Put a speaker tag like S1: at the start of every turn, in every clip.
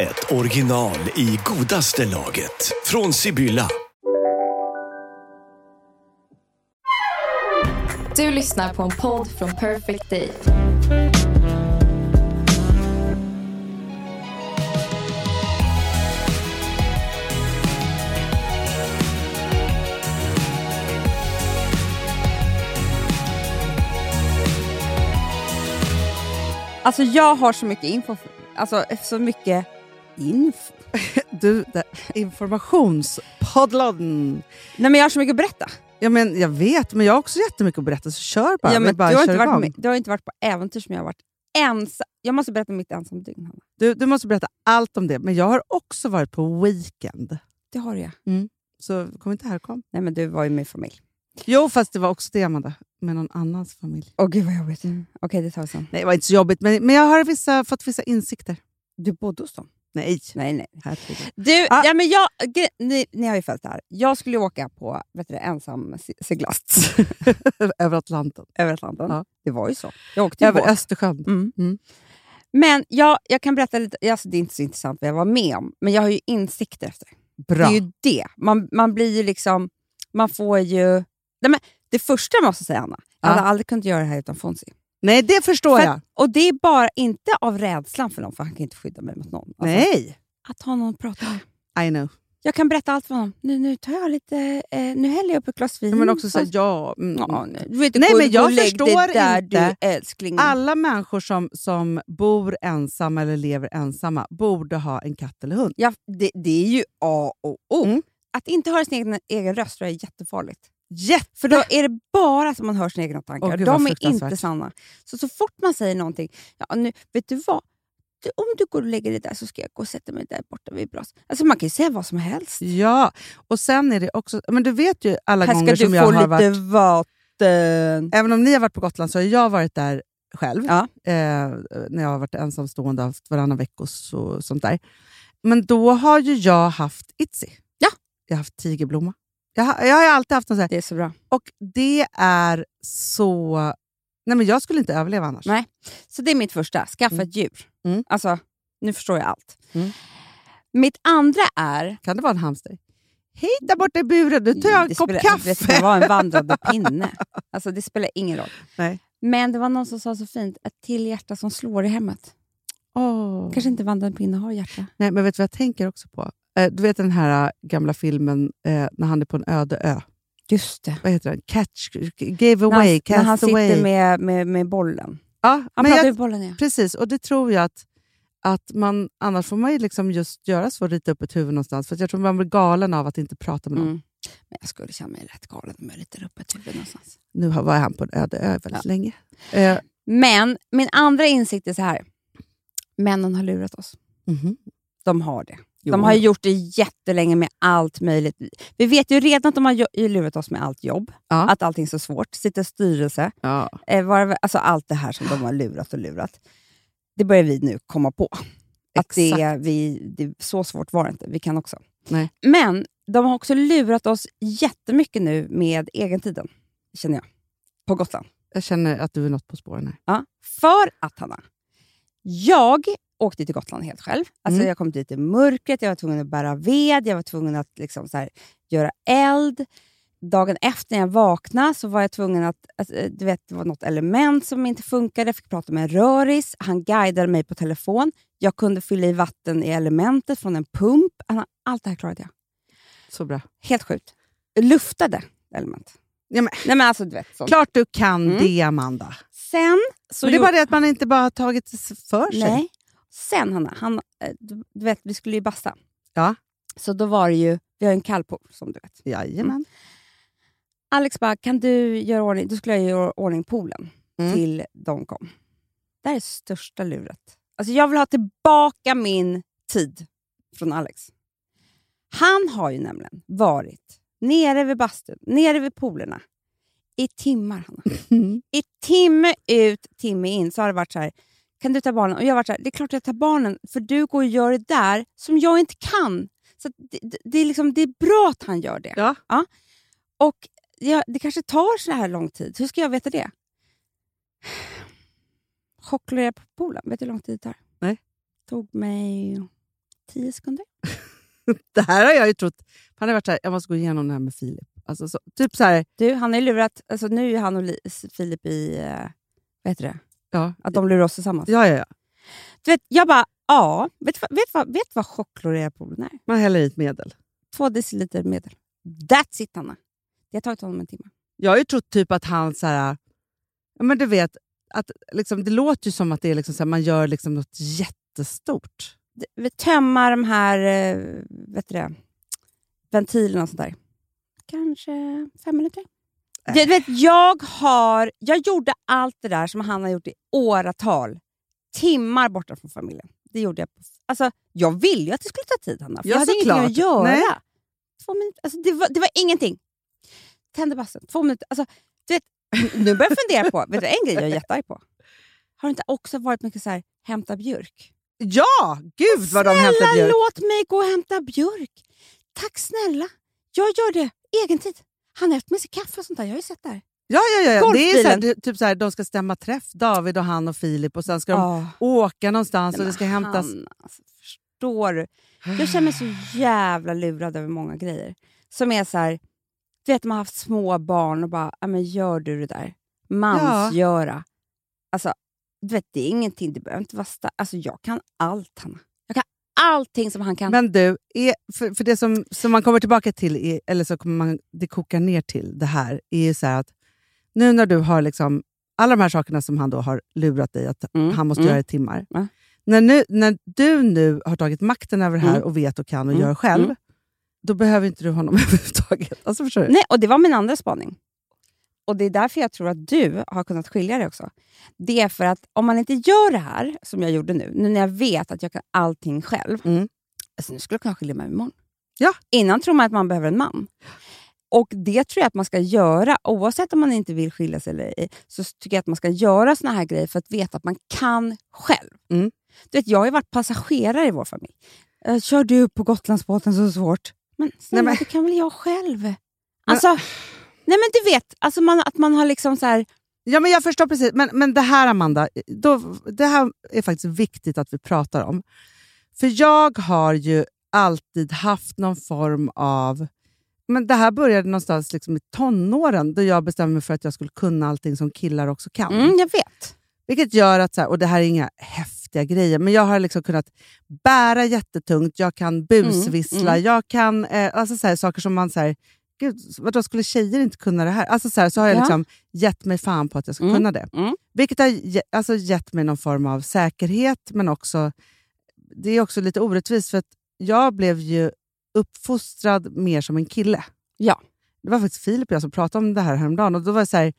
S1: ett original i godaste laget. Från Sibylla.
S2: Du lyssnar på en podd från Perfect Day.
S3: Alltså jag har så mycket info, alltså så mycket inf,
S4: Du, där- informationspodden.
S3: nej men jag har så mycket att berätta.
S4: Ja, men jag vet, men jag har också jättemycket att berätta, så kör bara.
S3: ja,
S4: Vi
S3: men
S4: bara
S3: du, har
S4: kör
S3: inte varit
S4: igång.
S3: med, du har inte varit på äventyr som jag har varit ensam. Jag måste berätta om mitt ensamdygn Hanna.
S4: du, du måste berätta allt om det, men jag har också varit på weekend. Mm.
S3: Det har jag.
S4: Så kom inte här kom.
S3: Nej men du var ju med familj.
S4: Jo, fast det var också det, Amanda. Med någon annans familj.
S3: Åh gud vad jobbigt. Mm. Okej det tar vi sen.
S4: Nej, det var inte så jobbigt, men, men jag har vissa, fått vissa insikter.
S3: Du bodde hos dem?
S4: Nej.
S3: Nej nej.
S4: Herregud.
S3: Du,
S4: Ah.
S3: ja, men jag, gre- ni, ni har ju följt det här. Jag skulle ju åka på vet du, det, ensam se- seglats
S4: Över Atlanten.
S3: över Atlanten.
S4: Ja.
S3: Det var ju så. Jag åkte ju båt.
S4: Över Östersjön.
S3: Mm.
S4: Mm.
S3: Men jag, jag kan berätta lite, alltså det är inte så intressant vad jag var med om, men jag har ju insikter efter.
S4: Bra.
S3: Det är ju det. Man, man blir ju liksom... Man får ju... Nej, men det första jag måste säga, Anna, jag hade
S4: Ja.
S3: aldrig kunnat göra det här utan Fonzie.
S4: Nej, det förstår
S3: För
S4: jag.
S3: att- Och det är bara inte av rädslan för någon, för han kan inte skydda mig mot någon. Alltså,
S4: Nej.
S3: Att ha någon att prata med.
S4: I know.
S3: Jag kan berätta allt för honom. Nu, nu tar jag lite... Eh, nu häller jag upp ett glas vin.
S4: Men också så här,
S3: Fast-
S4: ja. Mm.
S3: Ja, nej, du vet,
S4: Nej,
S3: gå-
S4: men
S3: gå
S4: jag
S3: och lägg dig
S4: förstår
S3: där,
S4: inte.
S3: Du, älskling.
S4: Alla människor som, som bor ensamma eller lever ensamma borde ha en katt eller hund.
S3: Ja, det, det är ju A och O.
S4: Mm.
S3: Att inte höra sin egen, egen röst tror jag är jättefarligt.
S4: Jätte!
S3: För då är det bara som man hör sina egna tankar.
S4: Åh, gud,
S3: De
S4: vad
S3: är inte
S4: fruktansvärt.
S3: sanna. Så så fort man säger någonting, ja, nu, vet du vad? Du, om du går och lägger dig där så ska jag gå och sätta mig där borta vid brasan. Alltså man kan ju säga vad som helst.
S4: Ja, och sen är det också... Men du vet ju alla
S3: Här ska
S4: gånger
S3: du
S4: som
S3: få
S4: jag har
S3: lite
S4: varit...
S3: vatten.
S4: Även om ni har varit på Gotland så har jag varit där själv.
S3: Ja.
S4: Eh, när jag har varit ensamstående, haft varannan veckos och sånt där. Men då har ju jag haft Itzy.
S3: Ja.
S4: Jag har haft tigerblomma. Jag, har- jag har ju alltid haft en sån här.
S3: Det är så bra.
S4: Och det är så... Nej men jag skulle inte överleva annars.
S3: Nej. Så det är mitt första, skaffa ett djur.
S4: Mm.
S3: Alltså, nu förstår jag allt.
S4: Mm.
S3: Mitt andra är...
S4: Kan det vara en hamster? Hej där borta i buren, nu tar jag en
S3: Det
S4: kopp
S3: spelar-
S4: kaffe.
S3: Det ska vara en vandrande pinne. Alltså, det spelar ingen roll.
S4: Nej.
S3: Men det var någon som sa så fint, ett till hjärta som slår i hemmet.
S4: Åh.
S3: kanske inte vandrande pinne har hjärta.
S4: Nej, men vet du vad jag tänker också på? Eh, du vet den här eh, gamla filmen eh, när han är på en öde ö.
S3: Just det.
S4: Vad heter den? Catch, gave
S3: När han,
S4: away,
S3: när han
S4: cast away.
S3: sitter med, med, med bollen.
S4: ja,
S3: Han
S4: men
S3: pratar
S4: jag,
S3: med bollen, ja.
S4: precis, och det tror jag att, att man, annars får man ju liksom just göra så, rita upp ett huvud någonstans. För att jag tror man blir galen av att inte prata med någon.
S3: Mm. Men jag skulle känna mig rätt galen om jag ritar upp ett huvud någonstans.
S4: Nu har- var han på en öde ö väldigt
S3: Ja.
S4: länge. Eh,
S3: Men min andra insikt är så här. Männen har lurat oss.
S4: mhm.
S3: De har det.
S4: Jo.
S3: De har ju gjort det jättelänge med allt möjligt. Vi vet ju redan att de har ju- ju lurat oss med allt jobb.
S4: Ja.
S3: Att allting är så svårt. Sitta i styrelse.
S4: ja.
S3: Eh, var, alltså allt det här som de har lurat och lurat. Det börjar vi nu komma på. Att det, är- vi, det, är- så svårt var det inte. Vi kan också.
S4: Nej.
S3: Men de har också lurat oss jättemycket nu med egentiden, känner jag, på Gotland.
S4: Jag känner att du är något på spåren här.
S3: Ja. För att, Hanna, jag åkte till Gotland helt själv. Alltså,
S4: Mm.
S3: Jag kom dit i mörkret, jag var tvungen att bära ved, jag var tvungen att liksom, så här, göra eld. Dagen efter när jag vaknade så var jag tvungen att... att eh, du vet, det var något element som inte funkade. Jag fick prata med en röris. Han guidade mig på telefon. Jag kunde fylla i vatten i elementet från en pump. Hanna, Allt det här klarade jag.
S4: Så bra.
S3: Helt sjukt. Luftade element.
S4: Ja, men-
S3: Nej, men alltså, du vet, sånt.
S4: Klart du kan
S3: Mm.
S4: det, Amanda.
S3: Sen så...
S4: Men det är
S3: gjorde-
S4: bara det att man inte bara har tagit det för sig.
S3: Nej. Sen Hanna, han, eh, du du vet, vi skulle ju basta.
S4: Ja.
S3: Så då var det ju, vi har ju en kallpool som du vet. Mm.
S4: Jajamän.
S3: Alex bara, kan du göra ordning? Då skulle jag göra ordning poolen
S4: Mm.
S3: till de kom. Det här är största luret. Alltså jag vill ha tillbaka min tid. från Alex. Han har ju nämligen varit nere vid bastun, nere vid poolerna, i timmar. Hanna. I timme ut, timme in så har det varit så här, kan du ta barnen? Och jag har varit så här, det är klart jag tar barnen, för du går och gör det där som jag inte kan. Så att det, det- det, är liksom, det är bra att han gör det.
S4: Ja.
S3: Och ja, det kanske tar så här lång tid. Hur ska jag veta det? Chocklera på poolen, vet du hur lång tid det tar?
S4: Nej.
S3: tog mig tio sekunder.
S4: Det här har jag ju trott. Han har varit så här, jag måste gå igenom det här med Filip. Alltså, så, typ så här,
S3: Du, han har ju lurat... Alltså nu är ju han och Li- Filip i... eh, Vad heter det?
S4: ja,
S3: Att de lurar oss tillsammans.
S4: ja, ja, ja.
S3: Du vet, jag bara, ja. Vet du vad- vet du vad, vet du vad chocklorerad poolen är?
S4: Man häller i ett medel.
S3: Två deciliter medel. That's it, Anna. Det har tagit honom en timme.
S4: Jag har ju trott typ att han så här, ja, men du vet, att liksom, det låter ju som att det är liksom så här, man gör liksom något jättestort.
S3: D- Vi tömmar de här eh, vet du det, ventilerna och sånt där. Kanske fem minuter.
S4: Äh.
S3: Du vet, jag, har, jag gjorde allt det där som han har gjort i åratal. Timmar borta från familjen. Det gjorde jag. på- Alltså, jag ville ju att det skulle ta tid, Hanna. För
S4: Ja,
S3: jag hade ingenting
S4: såklart.
S3: att göra.
S4: Nej.
S3: Två minuter, alltså, det, var, det var ingenting. Tände bassen, två minuter. Alltså, du vet, nu börjar jag fundera på, vet du, en grej jag är jättearg på. Har det inte också varit mycket så här, hämta björk?
S4: Ja, gud vad de hämtar
S3: Snälla
S4: björk.
S3: låt mig gå och hämta björk. Tack snälla. Jag gör det egentid. Han har haft med sig kaffe och sånt där. Jag har ju sett det här.
S4: Ja, ja, ja, ja. Det är så här,
S3: Golfbilen.
S4: det- typ så här, de ska stämma träff, David och han och Filip, och sen ska de
S3: Ja.
S4: åka någonstans och
S3: Men
S4: det ska hämtas...
S3: Han, alltså, förstår du? Jag känner mig så jävla lurad över många grejer. Som är så här, du vet man har haft små barn och bara, "Ja, men gör du det där? Mansgöra. Alltså, du vet det är ingenting, det behöver inte vara sta- Alltså jag kan allt Hanna. Jag kan allting som han kan.
S4: Men du, är, för, för det som, som man kommer tillbaka till, är, eller så kommer man, det kokar ner till det här, är ju så här att nu när du har liksom alla de här sakerna som han då har lurat dig att
S3: Mm,
S4: han måste
S3: mm.
S4: göra i timmar.
S3: Ja.
S4: När, nu, när du nu har tagit makten över det här
S3: Mm.
S4: och vet och kan och
S3: Mm,
S4: gör själv,
S3: mm.
S4: då behöver inte du honom överhuvudtaget. Alltså, förstår du?
S3: Nej, och det var min andra spaning. Och det är därför jag tror att du har kunnat skilja dig också. Det är för att om man inte gör det här, som jag gjorde nu, nu när jag vet att jag kan allting själv.
S4: Mm.
S3: Alltså nu skulle jag kunna skilja mig imorgon.
S4: Ja.
S3: Innan tror man att man behöver en man. Och det tror jag att man ska göra, oavsett om man inte vill skilja sig eller ej, så tycker jag att man ska göra såna här grejer för att veta att man kan själv.
S4: Mm.
S3: Du vet, jag har ju varit passagerare i vår familj. Eh, Kör du upp på Gotlandsbåten så svårt? Men snälla,
S4: men-
S3: det kan väl jag själv? Alltså, nej men du vet, alltså man, att man har liksom så här...
S4: Ja, men jag förstår precis. Men, men det här, Amanda, då, det här är faktiskt viktigt att vi pratar om. För jag har ju alltid haft någon form av... Men Det här började någonstans liksom i tonåren, då jag bestämde mig för att jag skulle kunna allting som killar också kan.
S3: Mm, jag vet.
S4: Vilket gör att, så här, och det här är inga häftiga grejer, men jag har liksom kunnat bära jättetungt, jag kan busvissla,
S3: Mm,
S4: jag kan eh, alltså så här, saker som man säger, gud, vadå skulle tjejer inte kunna det här? Alltså så, här, så har jag
S3: Ja.
S4: liksom gett mig fan på att jag ska
S3: Mm,
S4: kunna det.
S3: mm.
S4: Vilket har ge, alltså gett mig någon form av säkerhet, men också, det är också lite orättvist för att jag blev ju uppfostrad mer som en kille.
S3: Ja.
S4: Det var faktiskt Filip och jag som pratade om det här häromdagen. Och då var det så här,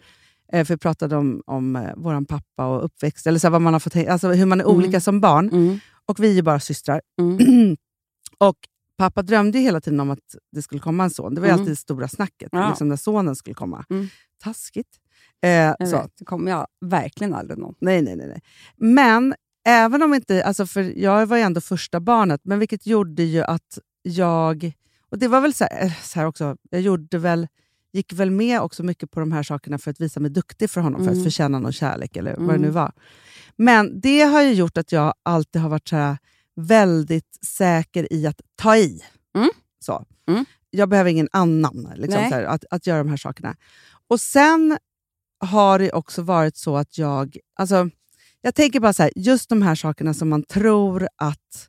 S4: eh, för vi pratade om, om eh, vår pappa och uppväxt, eller så här, vad man har fått, hä- alltså hur man är
S3: Mm.
S4: olika som barn.
S3: Mm,
S4: Och vi är ju bara systrar.
S3: mm,
S4: Och pappa drömde ju hela tiden om att det skulle komma en son. Det var ju
S3: Mm.
S4: alltid det stora snacket,
S3: Ja.
S4: liksom när sonen skulle komma.
S3: Mm.
S4: Taskigt. Eh,
S3: jag
S4: så.
S3: vet, det kommer jag verkligen aldrig nå.
S4: Nej, nej, nej. nej. Men även om inte... Alltså för jag var ju ändå första barnet, men vilket gjorde ju att jag... Och det var väl så här, eh, så här också, jag gjorde väl, gick väl med också mycket på de här sakerna för att visa mig duktig för honom, för
S3: Mm.
S4: att förtjäna någon kärlek eller vad
S3: Mm.
S4: det nu var. Men det har ju gjort att jag alltid har varit så här, väldigt säker i att ta i.
S3: Mm.
S4: Så.
S3: Mm.
S4: Jag behöver ingen annan liksom,
S3: Nej.
S4: så här, att, att göra de här sakerna. Och sen har det också varit så att jag... Alltså, jag tänker bara så här, just de här sakerna som man tror att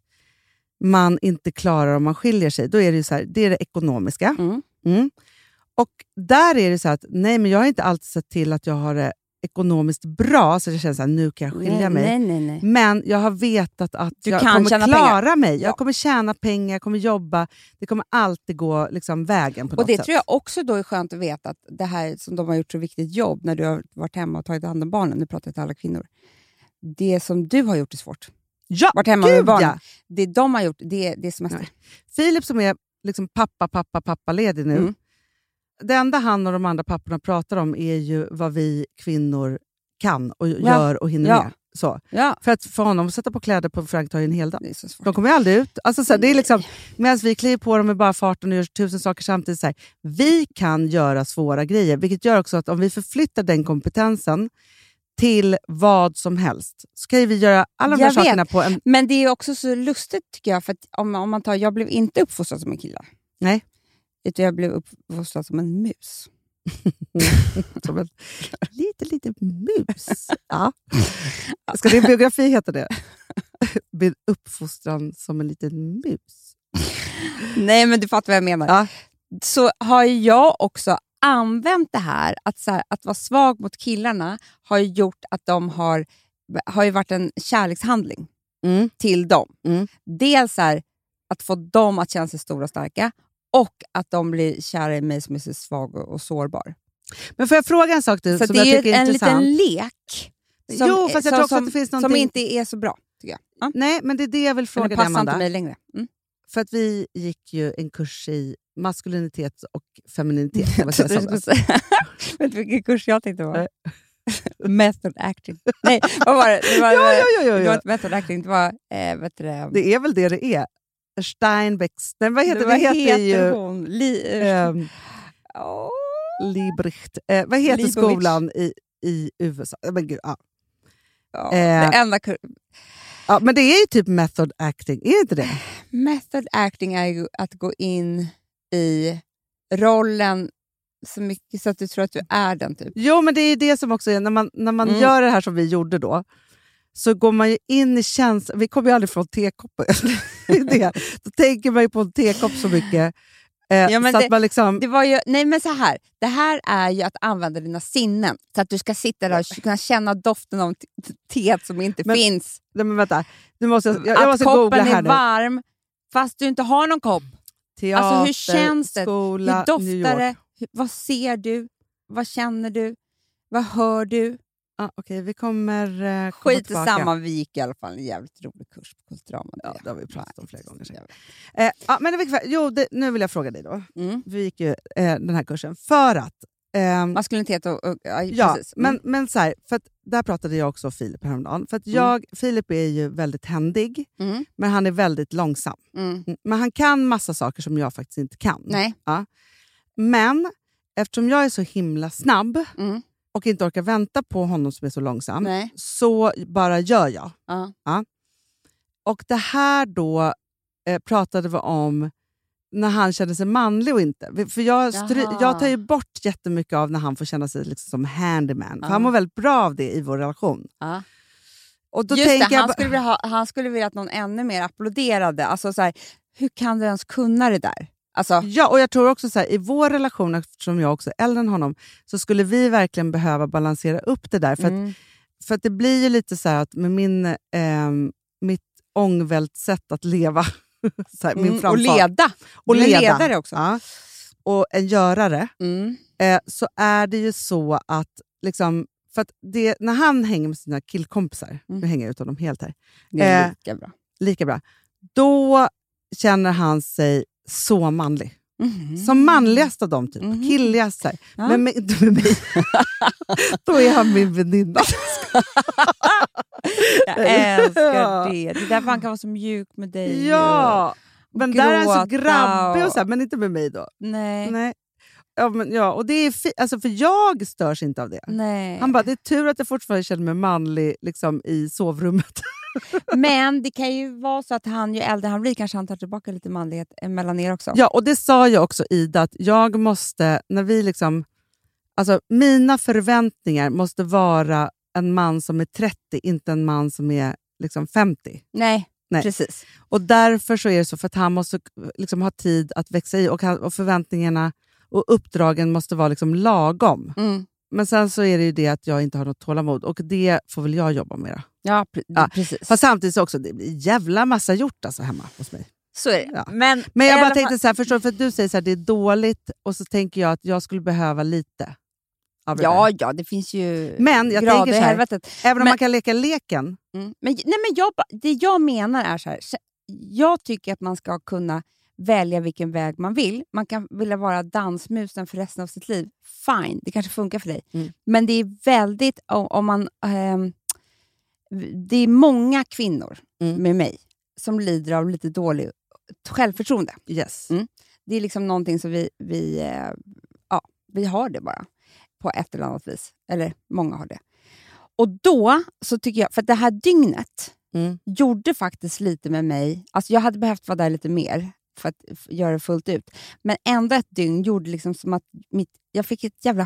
S4: man inte klarar om man skiljer sig, då är det ju så här, det är det ekonomiska.
S3: Mm.
S4: Mm. Och där är det så här att, nej men jag har inte alltid sett till att jag har det ekonomiskt bra, så jag känner så här, nu kan jag skilja
S3: nej,
S4: mig.
S3: nej, nej, nej.
S4: Men jag har vetat att
S3: Du
S4: jag
S3: kan
S4: kommer
S3: tjäna
S4: klara mig.
S3: Ja.
S4: Jag kommer tjäna pengar, jag kommer jobba. Det kommer alltid gå liksom vägen på
S3: Och
S4: något
S3: det
S4: sätt.
S3: tror jag också då är skönt att veta att det här som de har gjort så viktigt jobb när du har varit hemma och tagit hand om barnen, nu pratar jag till alla kvinnor. Det som du har gjort är svårt.
S4: Ja,
S3: Varit hemma med
S4: gud,
S3: barn.
S4: ja.
S3: Det de har gjort, det, det är semester.
S4: Filip som är liksom pappa, pappa, pappa-ledig nu.
S3: Mm.
S4: Det enda han och de andra papporna pratar om är ju vad vi kvinnor kan och gör och hinner
S3: Ja.
S4: med. Så.
S3: Ja.
S4: För att för honom att sätta på kläder på Frank tar ju en hel dag.
S3: Det är så svårt.
S4: De kommer ju aldrig ut. Alltså, så här, det är liksom, Medan vi kliver på dem med bara farten och gör tusen saker samtidigt. Så här, vi kan göra svåra grejer, vilket gör också att om vi förflyttar den kompetensen till vad som helst, så kan ju vi göra alla de här
S3: Jag vet.
S4: sakerna på en...
S3: Men det är också så lustigt tycker jag, för att om, om man tar, jag blev inte uppfostrad som en kille.
S4: Nej.
S3: Utan jag blev uppfostrad som en mus.
S4: Som en liten, liten mus. Ja. Ska din biografi heta det? Blir uppfostran som en liten mus.
S3: Nej, men du fattar vad jag menar.
S4: Ja.
S3: Så har ju jag också använt det här, att, så här, att vara svag mot killarna har ju gjort att de har, har ju varit en kärlekshandling
S4: Mm.
S3: till dem.
S4: Mm.
S3: Dels så här, att få dem att känna sig stora och starka och att de blir kära i mig som är så svag och, och sårbar.
S4: Men får jag fråga en sak du,
S3: Så
S4: Mm, som
S3: det
S4: jag
S3: är
S4: tycker
S3: ju
S4: är
S3: en
S4: intressant?
S3: liten lek som,
S4: Jo, fast jag
S3: som,
S4: tror också
S3: som,
S4: att det finns
S3: som
S4: någonting-
S3: inte är så bra. Tycker jag. Ja.
S4: Nej, men det är det jag vill
S3: Men
S4: fråga
S3: det
S4: dig,
S3: passar
S4: Amanda.
S3: inte mig längre. Mm.
S4: För att vi gick ju en kurs i maskulinitet och femininitet. eller vad
S3: Jag
S4: säger
S3: trodde du
S4: jag
S3: skulle
S4: så?
S3: säga. Vet du vilken kurs jag tänkte på?
S4: Nej.
S3: method acting. Nej, vad var det? Det var,
S4: Ja, ja, ja, ja,
S3: Det var
S4: ja.
S3: inte method acting, det var... Eh, vet du, det,
S4: Det är väl det det är. Steinbecks... Nej, vad heter det?
S3: vad
S4: heter, ju...
S3: hon? Li, eh,
S4: ehm,
S3: Åh.
S4: Libricht. Eh, vad heter
S3: Leibowitz.
S4: skolan i, i USA? Eh, Men, gud, ja.
S3: ja,
S4: eh.
S3: det enda kur-
S4: Ja, men det är ju typ method acting, är det inte det?
S3: method acting är ju att gå in i rollen så mycket så att du tror att du är den. typ.
S4: Jo, men det är ju det som också är, när man, när man
S3: Mm.
S4: gör det här som vi gjorde då, så går man ju in i känslan, vi kommer ju aldrig från tekoppen, Det är det. då tänker man ju på en tekopp så mycket. Eh,
S3: Ja, men
S4: så
S3: det-
S4: att man liksom,
S3: Det var ju, nej men så här, det här är ju att använda dina sinnen så att du ska sitta där och kunna känna doften av t- t- teet som inte
S4: Men-
S3: finns.
S4: nej, men vänta, nu måste jag, jag, jag
S3: Att
S4: måste googla
S3: koppen är
S4: här nu.
S3: varm fast du inte har någon kopp.
S4: Teater,
S3: Alltså, hur känns det?
S4: skola,
S3: Hur
S4: New
S3: doftar
S4: York.
S3: det? Hur- Vad ser du? Vad känner du? Vad hör du?
S4: Ah, Okej, vi kommer eh, komma
S3: Skit i
S4: tillbaka.
S3: samma, vi gick i alla fall en jävligt rolig kurs på Kulturama.
S4: Ja, det har vi pratat om flera gånger.
S3: Jag vet.
S4: Eh, ja, men i vilket fall- jo, det, nu vill jag fråga dig då.
S3: Mm.
S4: Vi gick ju eh, den här kursen för att... ehm,
S3: Maskulinitet och... och ja,
S4: ja,
S3: precis. Mm.
S4: men, men så här, för att där pratade jag också och Filip häromdagen. För att jag, Filip är ju väldigt händig,
S3: Mm.
S4: men han är väldigt långsam.
S3: Mm.
S4: Mm, Men han kan massa saker som jag faktiskt inte kan.
S3: Nej.
S4: Men eftersom jag är så himla snabb
S3: Mm.
S4: och inte orkar vänta på honom som är så långsam,
S3: Nej.
S4: så bara gör jag.
S3: Ja.
S4: Och det här då eh, pratade vi om när han kände sig manlig och inte. För jag, stry-
S3: Jaha.
S4: jag tar ju bort jättemycket av när han får känna sig liksom som handyman.
S3: Ja.
S4: För han mår väldigt bra av det i vår relation.
S3: Ja.
S4: Och då
S3: Just
S4: tänker
S3: det,
S4: jag
S3: han,
S4: ba-
S3: skulle vilja ha, han skulle vilja att någon ännu mer applåderade. Alltså, så här, hur kan du ens kunna det där? Alltså,
S4: Ja, och jag tror också så här, i vår relation, eftersom jag också är äldre än honom, så skulle vi verkligen behöva balansera upp det där. För,
S3: mm.
S4: att, för att det blir ju lite så här att med min, ehm, mitt ångvält sätt att leva, så här, min
S3: Mm, och
S4: framfart.
S3: leda.
S4: och
S3: Du är
S4: leda.
S3: ledare också.
S4: Ja. Och en görare.
S3: Mm.
S4: eh, så är det ju så att, liksom, för att det, när han hänger med sina killkompisar, nu
S3: Mm.
S4: hänger jag ut honom helt här,
S3: Det är
S4: Eh,
S3: lika bra.
S4: lika bra, då känner han sig så manlig.
S3: Mhm.
S4: Som manligast av dem, typ.
S3: Mhm.
S4: killigast. Så här.
S3: Ja.
S4: Men med, inte med mig. då är han min väninna.
S3: Jag älskar
S4: Ja.
S3: det. Det är därför han kan vara så mjuk med dig.
S4: ja! Men där är han
S3: Gråta
S4: så grabbig, och
S3: och-
S4: så här, men inte med mig då.
S3: Nej. Nej.
S4: Nej. Ja, men, ja, och det är fi- alltså, för jag störs inte av det. Han bara, det är tur att jag fortfarande känner mig manlig liksom, i sovrummet.
S3: Men det kan ju vara så att han, ju äldre han blir, kanske han tar tillbaka lite manlighet eh, mellan er också.
S4: Ja, och det sa jag också Ida, att jag måste, när vi liksom, alltså mina förväntningar måste vara en man som är 30, inte en man som är liksom 50.
S3: Nej,
S4: Nej.
S3: precis.
S4: Och därför så är det så, för att han måste liksom ha tid att växa i och, han, och förväntningarna och uppdragen måste vara liksom lagom.
S3: Mm.
S4: Men sen så är det ju det att jag inte har något tålamod och det får väl jag jobba med. då.
S3: Ja, pre-
S4: Ja,
S3: precis.
S4: Fast samtidigt så också, det blir jävla massa gjort alltså hemma hos mig.
S3: så är det.
S4: Ja.
S3: Men,
S4: Men jag
S3: i
S4: bara
S3: alla fall-
S4: tänkte så här, förstår du, för att du säger så här, det är dåligt och så tänker jag att jag skulle behöva lite. av det
S3: Ja,
S4: där.
S3: ja, det finns ju
S4: Men jag
S3: grader
S4: tänker
S3: i
S4: så här,
S3: helvetet.
S4: Även om
S3: men-
S4: man kan leka leken.
S3: Mm. Men, nej, men jag, ba- det jag menar är så här. så- Jag tycker att man ska kunna välja vilken väg man vill. Man kan vilja vara dansmusen för resten av sitt liv. Fine, det kanske funkar för dig.
S4: Mm.
S3: Men det är väldigt... o- om man, ehm, Det är många kvinnor
S4: Mm.
S3: med mig som lider av lite dålig självförtroende.
S4: Yes.
S3: Mm. Det är liksom någonting som vi, vi, eh, ja, vi har det bara, på ett eller annat vis. Eller många har det. Och då, så tycker jag, för att det här dygnet
S4: Mm.
S3: gjorde faktiskt lite med mig, alltså jag hade behövt vara där lite mer för att f- göra det fullt ut, men ändå ett dygn gjorde liksom som att mitt, jag fick ett jävla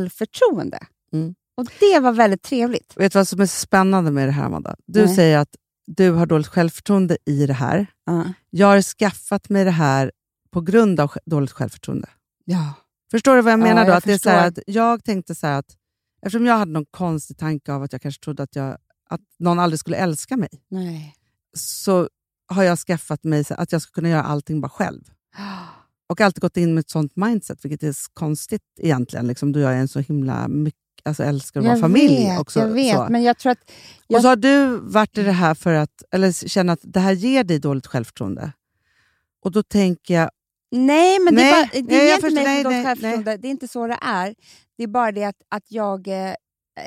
S3: självförtroende.
S4: Mm.
S3: Och det var väldigt trevligt.
S4: Vet du vad som är spännande med det här, Amanda? Du
S3: Nej.
S4: säger att du har dåligt självförtroende i det här.
S3: Ah.
S4: Jag har skaffat mig det här på grund av sj- dåligt självförtroende.
S3: Ja.
S4: Förstår du vad jag
S3: Ja,
S4: menar då?
S3: jag
S4: att det är så här att
S3: förstår.
S4: jag tänkte så här att, eftersom jag hade någon konstig tanke av att jag kanske trodde att, jag, att någon aldrig skulle älska mig,
S3: Nej.
S4: så har jag skaffat mig så att jag ska kunna göra allting bara själv. Och alltid gått in med ett sånt mindset, vilket är s- konstigt egentligen, liksom, då jag är en så himla mycket, alltså älskar att vara familj
S3: vet,
S4: också.
S3: jag vet,
S4: så.
S3: men jag tror att... jag- Mm.
S4: Och så har du varit i det här för att, eller s- känner att det här ger dig dåligt självförtroende. Och då tänker jag,
S3: Nej, men
S4: Nej,
S3: det, är bara, det
S4: nej, jag
S3: ger inte
S4: förstår- nej,
S3: mig för
S4: nej,
S3: dåligt självförtroende. Det är inte så det är. Det är bara det att, att jag, eh,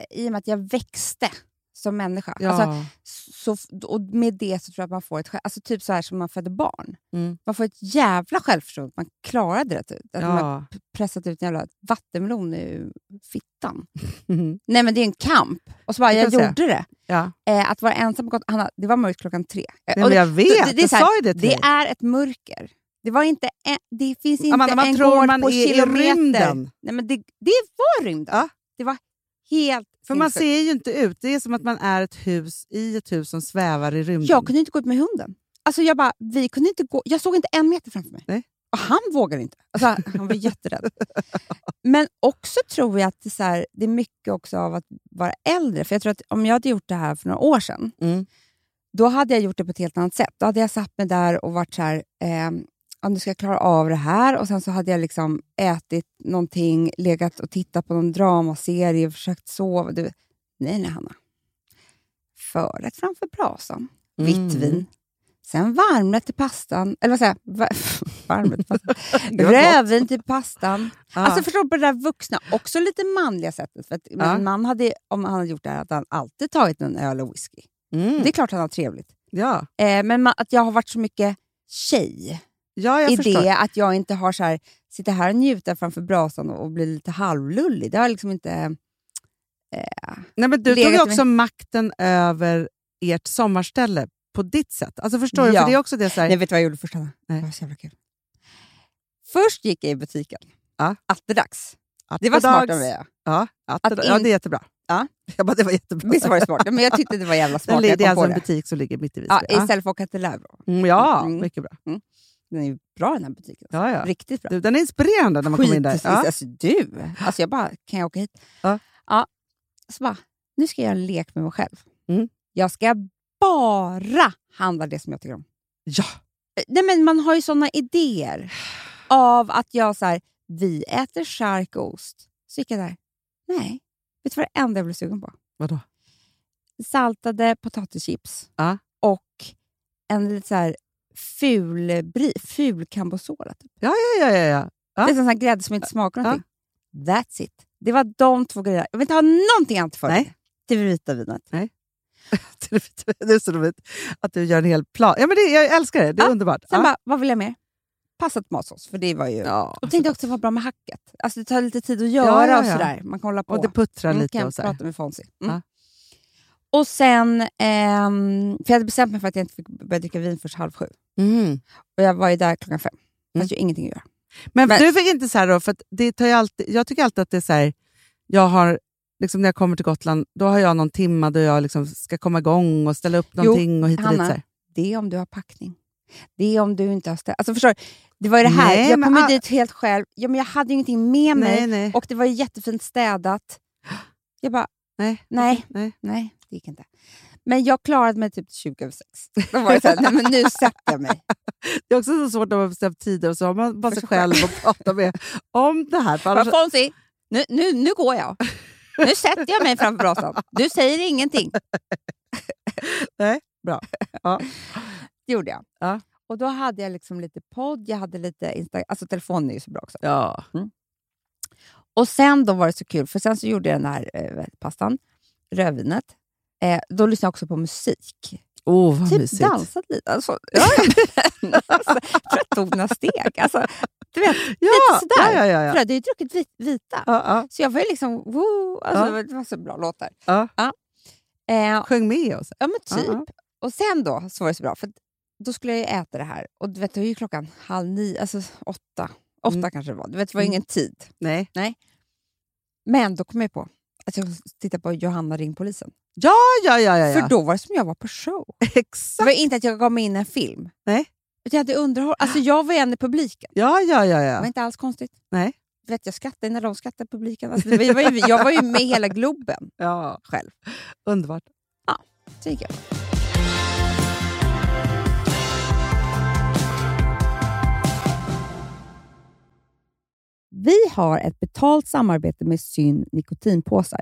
S3: i och med att jag växte som människa,
S4: ja,
S3: alltså, så, och med det så tror jag att man får ett själv- alltså typ så här som man föder barn.
S4: Mm.
S3: Man får ett jävla självförtroende. Man klarade det. Typ. Att man har
S4: ja.
S3: pressat ut en jävla vattenmelon ur fittan.
S4: Mhm.
S3: Nej, men det är en kamp. Och så bara,
S4: Det
S3: jag
S4: kan jag
S3: gjorde det.
S4: ja.
S3: Eh, att vara ensam på gatan, Hanna, det var mörkt klockan tre. Eh,
S4: Nej,
S3: och
S4: men
S3: det-
S4: jag vet,
S3: det är
S4: jag
S3: så här,
S4: sa ju det till
S3: det
S4: dig.
S3: är ett mörker. Det, var inte en, det finns inte
S4: Amanda, man
S3: en
S4: tror
S3: gård
S4: man
S3: på
S4: är i
S3: kilometer.
S4: rymden.
S3: Nej, men det, det var rymden.
S4: Ja.
S3: Det var helt
S4: För man
S3: sinnessjukt.
S4: ser ju inte ut. Det är som att man är ett hus i ett hus som svävar i rymden.
S3: Jag kunde inte gå ut med hunden. Alltså jag, bara, vi kunde inte gå, jag såg inte en meter framför mig.
S4: Nej.
S3: Och han vågade inte. Alltså, han var jätterädd. Men också tror jag att det är, så här, det är mycket också av att vara äldre. För jag tror att om jag hade gjort det här för några år sedan,
S4: Mm.
S3: då hade jag gjort det på ett helt annat sätt. Då hade jag satt mig där och varit så här, ehm, ja, nu ska jag klara av det här. Och sen så hade jag liksom ätit någonting, legat och tittat på någon dramaserie, och försökt sova. Du, nej, nej, Hanna. Förrätt framför brasan, vitt
S4: Mm.
S3: vin. Sen varmrätt till pastan, eller vad säger jag? Va- varmrätt till pastan.
S4: Gud,
S3: Rödvin till pastan.
S4: Ja.
S3: Alltså förstår du, på det där vuxna, också lite manliga sättet. För att min
S4: Ja.
S3: man hade, om han hade gjort det här, hade han alltid tagit en öl och whisky.
S4: mm.
S3: Det är klart han har trevligt.
S4: ja.
S3: Eh, men ma- att jag har varit så mycket tjej
S4: ja, jag
S3: i
S4: förstår.
S3: det att jag inte har så här, sitta här och njuta framför brasan och, och bli lite halvlullig. Det har liksom inte...
S4: Nej, men du tog
S3: legat
S4: ju
S3: med-
S4: också makten över ert sommarställe på ditt sätt. Alltså förstår du?
S3: Ja.
S4: För det är också det så här,
S3: Nej, vet du vad jag gjorde först, Hanna?
S4: Nej.
S3: Det var så jävla kul. Först gick jag i butiken.
S4: Ja.
S3: Atterdags.
S4: att
S3: Det var smart
S4: dags-
S3: av mig. ja.
S4: Ja, att,
S3: Att
S4: ja,
S3: in-
S4: det är jättebra.
S3: Ja.
S4: Jag bara, det var jättebra.
S3: Visst var det smart? Ja, Men jag tyckte det var jävla
S4: Den
S3: smart.
S4: ligger-
S3: Jag
S4: det
S3: kom
S4: är
S3: på
S4: alltså
S3: det.
S4: en butik som ligger mitt i Visby.
S3: Ja,
S4: Ja.
S3: istället för att åka till Lärbro.
S4: Mm, ja,
S3: Mm.
S4: mycket bra.
S3: Den är ju bra den här butiken.
S4: Ja, ja.
S3: Riktigt bra.
S4: Du, den är inspirerande när man kommer in där.
S3: Skitprecis.
S4: Ja.
S3: Alltså du! Alltså jag bara, kan jag åka hit?
S4: Ja.
S3: Ja. Så bara, nu ska jag göra en lek med mig själv.
S4: Mm.
S3: Jag ska bara handla det som jag tycker om.
S4: Ja.
S3: Eh, Nej, men man har ju såna idéer av att jag så här, vi äter charkost. Så gick jag där. Nej, vet du vad det enda jag blev sugen på?
S4: Vadå?
S3: Saltade potatischips
S4: Ja.
S3: och en lite så här ful, bri, ful cambosola. Typ.
S4: Ja, ja, ja, ja, ja. Ja.
S3: Det är sån här grädde som inte smakar någonting. That's it. Det var de två grejerna. Jag vill inte ha någonting annat för
S4: Nej.
S3: det. Det vita vinet.
S4: Det är så roligt att du gör en hel plan. Ja, men det, jag älskar det. Det är
S3: Ja,
S4: underbart.
S3: Sen
S4: ja.
S3: bara, vad vill jag mer? Passa tomatsås, för det var ju...
S4: ja.
S3: Och tänkte också vara bra med hacket. Alltså det tar lite tid att göra
S4: Ja, ja,
S3: och
S4: ja.
S3: sådär. Man kan hålla på.
S4: och det puttrar
S3: Mm,
S4: lite.
S3: kan
S4: Och så här.
S3: prata med Fonzie. Mm.
S4: Ja.
S3: Och sen, ehm, för jag hade bestämt mig för att jag inte fick börja dricka vin förrän halv sju.
S4: Mm.
S3: Och jag var ju där klockan fem.
S4: Mm.
S3: Fast jag har ingenting att göra.
S4: Men,
S3: Men-
S4: du fick inte så här då, för att det tar ju alltid, jag tycker alltid att det är så här, jag har, liksom när jag kommer till Gotland, då har jag någon timma då jag liksom ska komma igång och ställa upp någonting och hit och dit. Så
S3: Hanna,
S4: här.
S3: Det är om du har packning. Det är om du inte har ställt... Alltså förstår du? Det var ju det här.
S4: Nej,
S3: jag
S4: men
S3: kom ju
S4: all-
S3: dit helt själv. Ja, men jag hade ju ingenting med mig.
S4: Nej, nej.
S3: Och det var ju jättefint städat. Jag bara,
S4: nej.
S3: nej,
S4: Nej.
S3: nej, det gick inte. Men jag klarade mig typ 20 över sex. Då var det så här, nej men nu sätter jag mig.
S4: Det är också så svårt när man har bestämt tider och så har man bara
S3: För
S4: sig
S3: sig
S4: själv
S3: själv.
S4: att prata med om det här. För annars,
S3: Bara, Fonzie, Alltså, Nu, nu, nu går jag. Nu sätter jag mig framför brasan. Du säger ingenting.
S4: Nej, bra. Ja.
S3: Det gjorde jag.
S4: Ja.
S3: Och då hade jag liksom lite podd, jag hade lite Instagram. Alltså telefonen är ju så bra också. Mm.
S4: Ja.
S3: Och sen då var det så kul, för sen så gjorde jag den här eh, pastan, rödvinet. Eh, då lyssnade jag också på musik.
S4: Oh, vad
S3: typ
S4: mysigt.
S3: dansat lite. Alltså, ja. alltså, jag tror jag tog några steg. Alltså, du vet,
S4: ja,
S3: lite sådär.
S4: Ja, ja, ja,
S3: för jag
S4: ja.
S3: hade ju druckit vit, vita.
S4: Ja, ja.
S3: Så jag var ju liksom, woo, alltså,
S4: Ja.
S3: det var så bra låtar.
S4: Ja.
S3: Eh,
S4: Sjöng med oss.
S3: ja men typ.
S4: Ja, ja.
S3: Och sen då så var det så bra, för att då skulle jag ju äta det här. Och du vet, det var ju klockan halv nio, alltså åtta. Åtta
S4: Mm.
S3: kanske det var. Du vet, det var ju
S4: Mm.
S3: ingen tid.
S4: Nej.
S3: Men då kom jag på att jag tittade på Johanna ring polisen.
S4: Ja, ja, ja. ja, ja.
S3: För då var det som jag var på show. Det
S4: Exakt.
S3: var inte att jag gav mig in i en film.
S4: Nej.
S3: Utan jag hade underhåll. Alltså jag var en i publiken.
S4: Ja, ja, ja.
S3: Det var
S4: ja.
S3: inte alls konstigt.
S4: Nej.
S3: Du vet, jag skrattade när de skrattade i publiken. Alltså, det var, jag, var ju, jag var ju med i hela Globen
S4: ja.
S3: själv.
S4: Underbart.
S3: Så gick jag. Vi har ett betalt samarbete med Syn nikotinpåsar.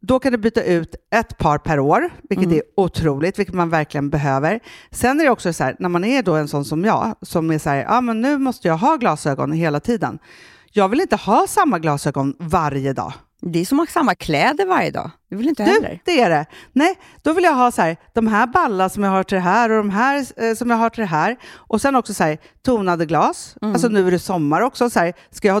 S4: då kan du byta ut ett par per år, vilket är otroligt, vilket man verkligen behöver. Sen är det också så här, när man är då en sån som jag, som är så här, ah, men nu måste jag ha glasögon hela tiden. Jag vill inte ha samma glasögon varje dag.
S3: Det är som att ha samma kläder varje dag. Det vill inte jag
S4: Du,
S3: heller.
S4: det är det. Nej, då vill jag ha så här, de här balla som jag har till det här och de här eh, som jag har till det här. Och sen också så här, tonade glas.
S3: Mm.
S4: Alltså nu är det sommar också. Så här, ska jag ha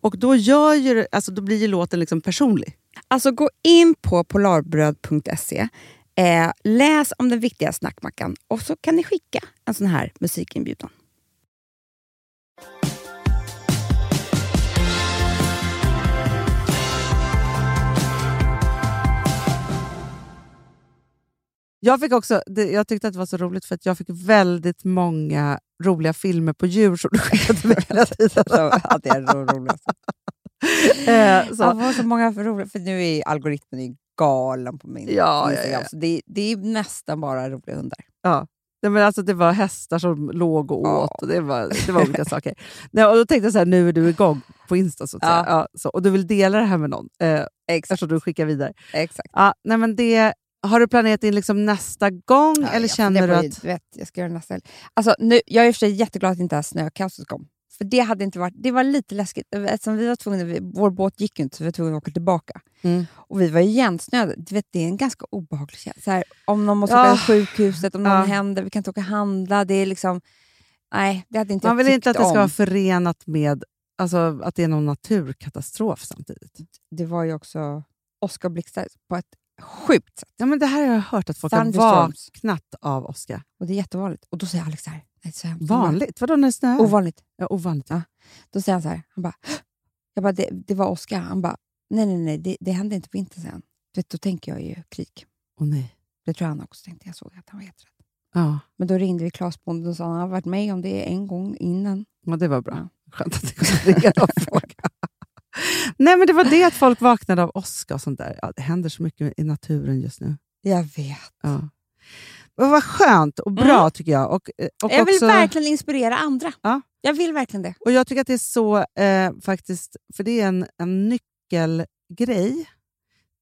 S4: Och då, gör ju, det- alltså, då blir ju låten liksom personlig.
S3: Alltså gå in på polarbröd.se, eh, läs om den viktiga snackmackan och så kan ni skicka en sån här musikinbjudan.
S4: Jag, fick också, det, jag tyckte att det var så roligt för att jag fick väldigt många roliga filmer på djur som du skickade till mig hela tiden.
S3: Så, ja, det är ro- roligt.
S4: Eh, så.
S3: Ja, det var så många för roliga, för nu är ju algoritmen ju galen på min
S4: Ja,
S3: Instagram.
S4: ja, ja.
S3: Så det, det är nästan bara roliga hundar.
S4: Nej, men alltså, det var hästar som låg och åt.
S3: Ja.
S4: Och det, var, det var olika saker. Nej, och då tänkte jag så här, nu är du igång på Insta så att
S3: Ja.
S4: säga. Ja, så, och du vill dela det här med någon eh, eftersom du skickar vidare.
S3: Exakt.
S4: Ja, nej, men det, har du planerat in liksom nästa gång
S3: Ja,
S4: eller
S3: jag
S4: känner du
S3: funderar på-
S4: att...
S3: Du vet, jag ska göra det nästa helg. Alltså, nu, jag är i och för sig jätteglad att inte det här snökaoset kom. För det, hade inte varit, det var lite läskigt, eftersom vi var tvungna, vi- vår båt gick ju inte så vi var tvungna att åka tillbaka.
S4: Mm.
S3: Och vi var ju igensnöade. Du vet, det är en ganska obehaglig känsla. Så här, Om någon måste
S4: Ja.
S3: åka till sjukhuset, om någon
S4: Ja.
S3: händer, vi kan inte åka och handla. Det är liksom, nej, det hade inte
S4: Man
S3: jag
S4: vill inte att
S3: tyckt
S4: det ska
S3: om.
S4: vara förenat med alltså, att det är någon naturkatastrof samtidigt.
S3: Det var ju också Oscarblixtar på ett sjukt sätt.
S4: Ja, men det här har jag hört att folk har
S3: Thunderstorms.
S4: vaknat av åska.
S3: Och det är jättevanligt. Och då säger Alex så här, nej, det är så hemskt."
S4: Vanligt? Vadå när det snöar?
S3: Ovanligt.
S4: ja, ovanligt.
S3: Då säger han så här, han bara, "Hå!" jag bara det, det var Oskar. Han bara, nej nej nej, det, det hände inte på vintern sen. Du vet, då tänker jag ju krig.
S4: Åh, nej.
S3: Det tror jag han också tänkte. Jag såg att han var helt rätt.
S4: Ja.
S3: Men då ringde vi Claes Bonde och sa han har varit med om det en gång innan.
S4: ja, det var bra. Skönt att det kunde ringa någon fråga. Nej, men det var det att folk vaknade av åska och sånt där. Ja, det händer så mycket i naturen just nu.
S3: Jag vet.
S4: Ja. Men vad skönt och bra tycker jag. Och, eh, och
S3: Mm. jag vill
S4: också,
S3: verkligen inspirera andra.
S4: Ja.
S3: Jag vill verkligen det.
S4: Och jag tycker att det är så, eh, faktiskt, för det är en, en nyckelgrej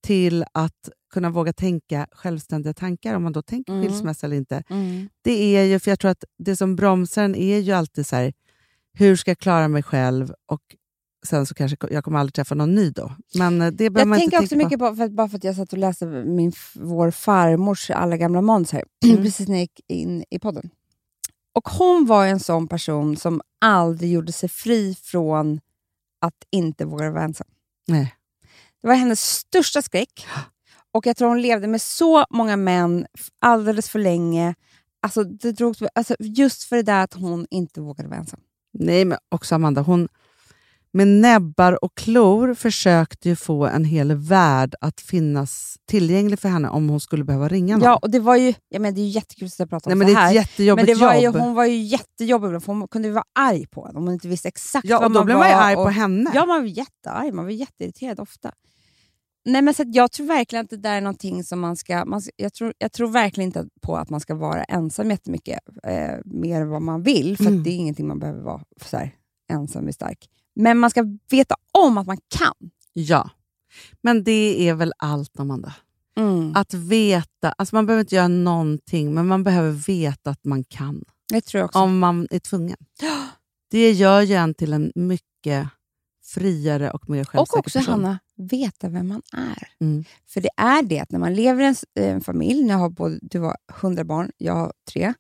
S4: till att kunna våga tänka självständiga tankar, om man då tänker
S3: Mm.
S4: skilsmässa eller inte. Det är ju, för jag tror att det som bromsar en är ju alltid så här, hur ska jag klara mig själv? Och sen så kanske jag kommer aldrig träffa någon ny då. Men eh, det behöver
S3: Jag
S4: man inte
S3: tänker
S4: tänka
S3: också
S4: på.
S3: mycket på, för att, bara för att jag satt och läste min, f- vår farmors alla gamla manus här,
S4: Mm.
S3: precis när jag gick in i podden. Och hon var ju en sån person som aldrig gjorde sig fri från att inte våga vara ensam.
S4: Nej.
S3: Det var hennes största skräck. Och jag tror hon levde med så många män f- alldeles för länge. Alltså, det drog, alltså, just för det där att hon inte vågade vara ensam.
S4: Nej, men också Amanda, hon med näbbar och klor försökte ju få en hel värld att finnas tillgänglig för henne om hon skulle behöva ringa någon.
S3: Ja, och det var ju, jag menar, det är ju jättekul att sitta och prata
S4: Nej,
S3: om
S4: men det
S3: så
S4: är
S3: Alltså, här.
S4: ett
S3: Men
S4: jättejobbigt
S3: det var ju,
S4: jobb.
S3: hon var ju jättejobbig ibland, för hon kunde ju vara arg på henne om hon inte visste exakt
S4: ja,
S3: vad
S4: och då
S3: man
S4: blev
S3: var.
S4: man ju arg på
S3: och,
S4: henne.
S3: Ja, man var jättearg. Man var jätteirriterad ofta. Nej, men så att jag tror verkligen att det där är någonting som man ska... Man, ska- jag, tror, jag tror verkligen inte att- på att man ska vara ensam jättemycket, eh, mer än vad man vill, för
S4: Mm.
S3: att det är ingenting man behöver vara så här, ensam är stark. Men man ska veta om att man kan.
S4: Ja. Men det är väl allt, Amanda. Att veta, alltså man behöver inte göra någonting, men man behöver veta att man kan.
S3: Det tror jag också.
S4: Om man är tvungen. Det gör ju en till en mycket friare och mer självsäker
S3: Och också,
S4: person.
S3: Hanna, veta vem man är.
S4: Mm.
S3: För det är det, att när man lever i en, s- eh, en familj, när jag har både, du har hundra barn, jag har tre.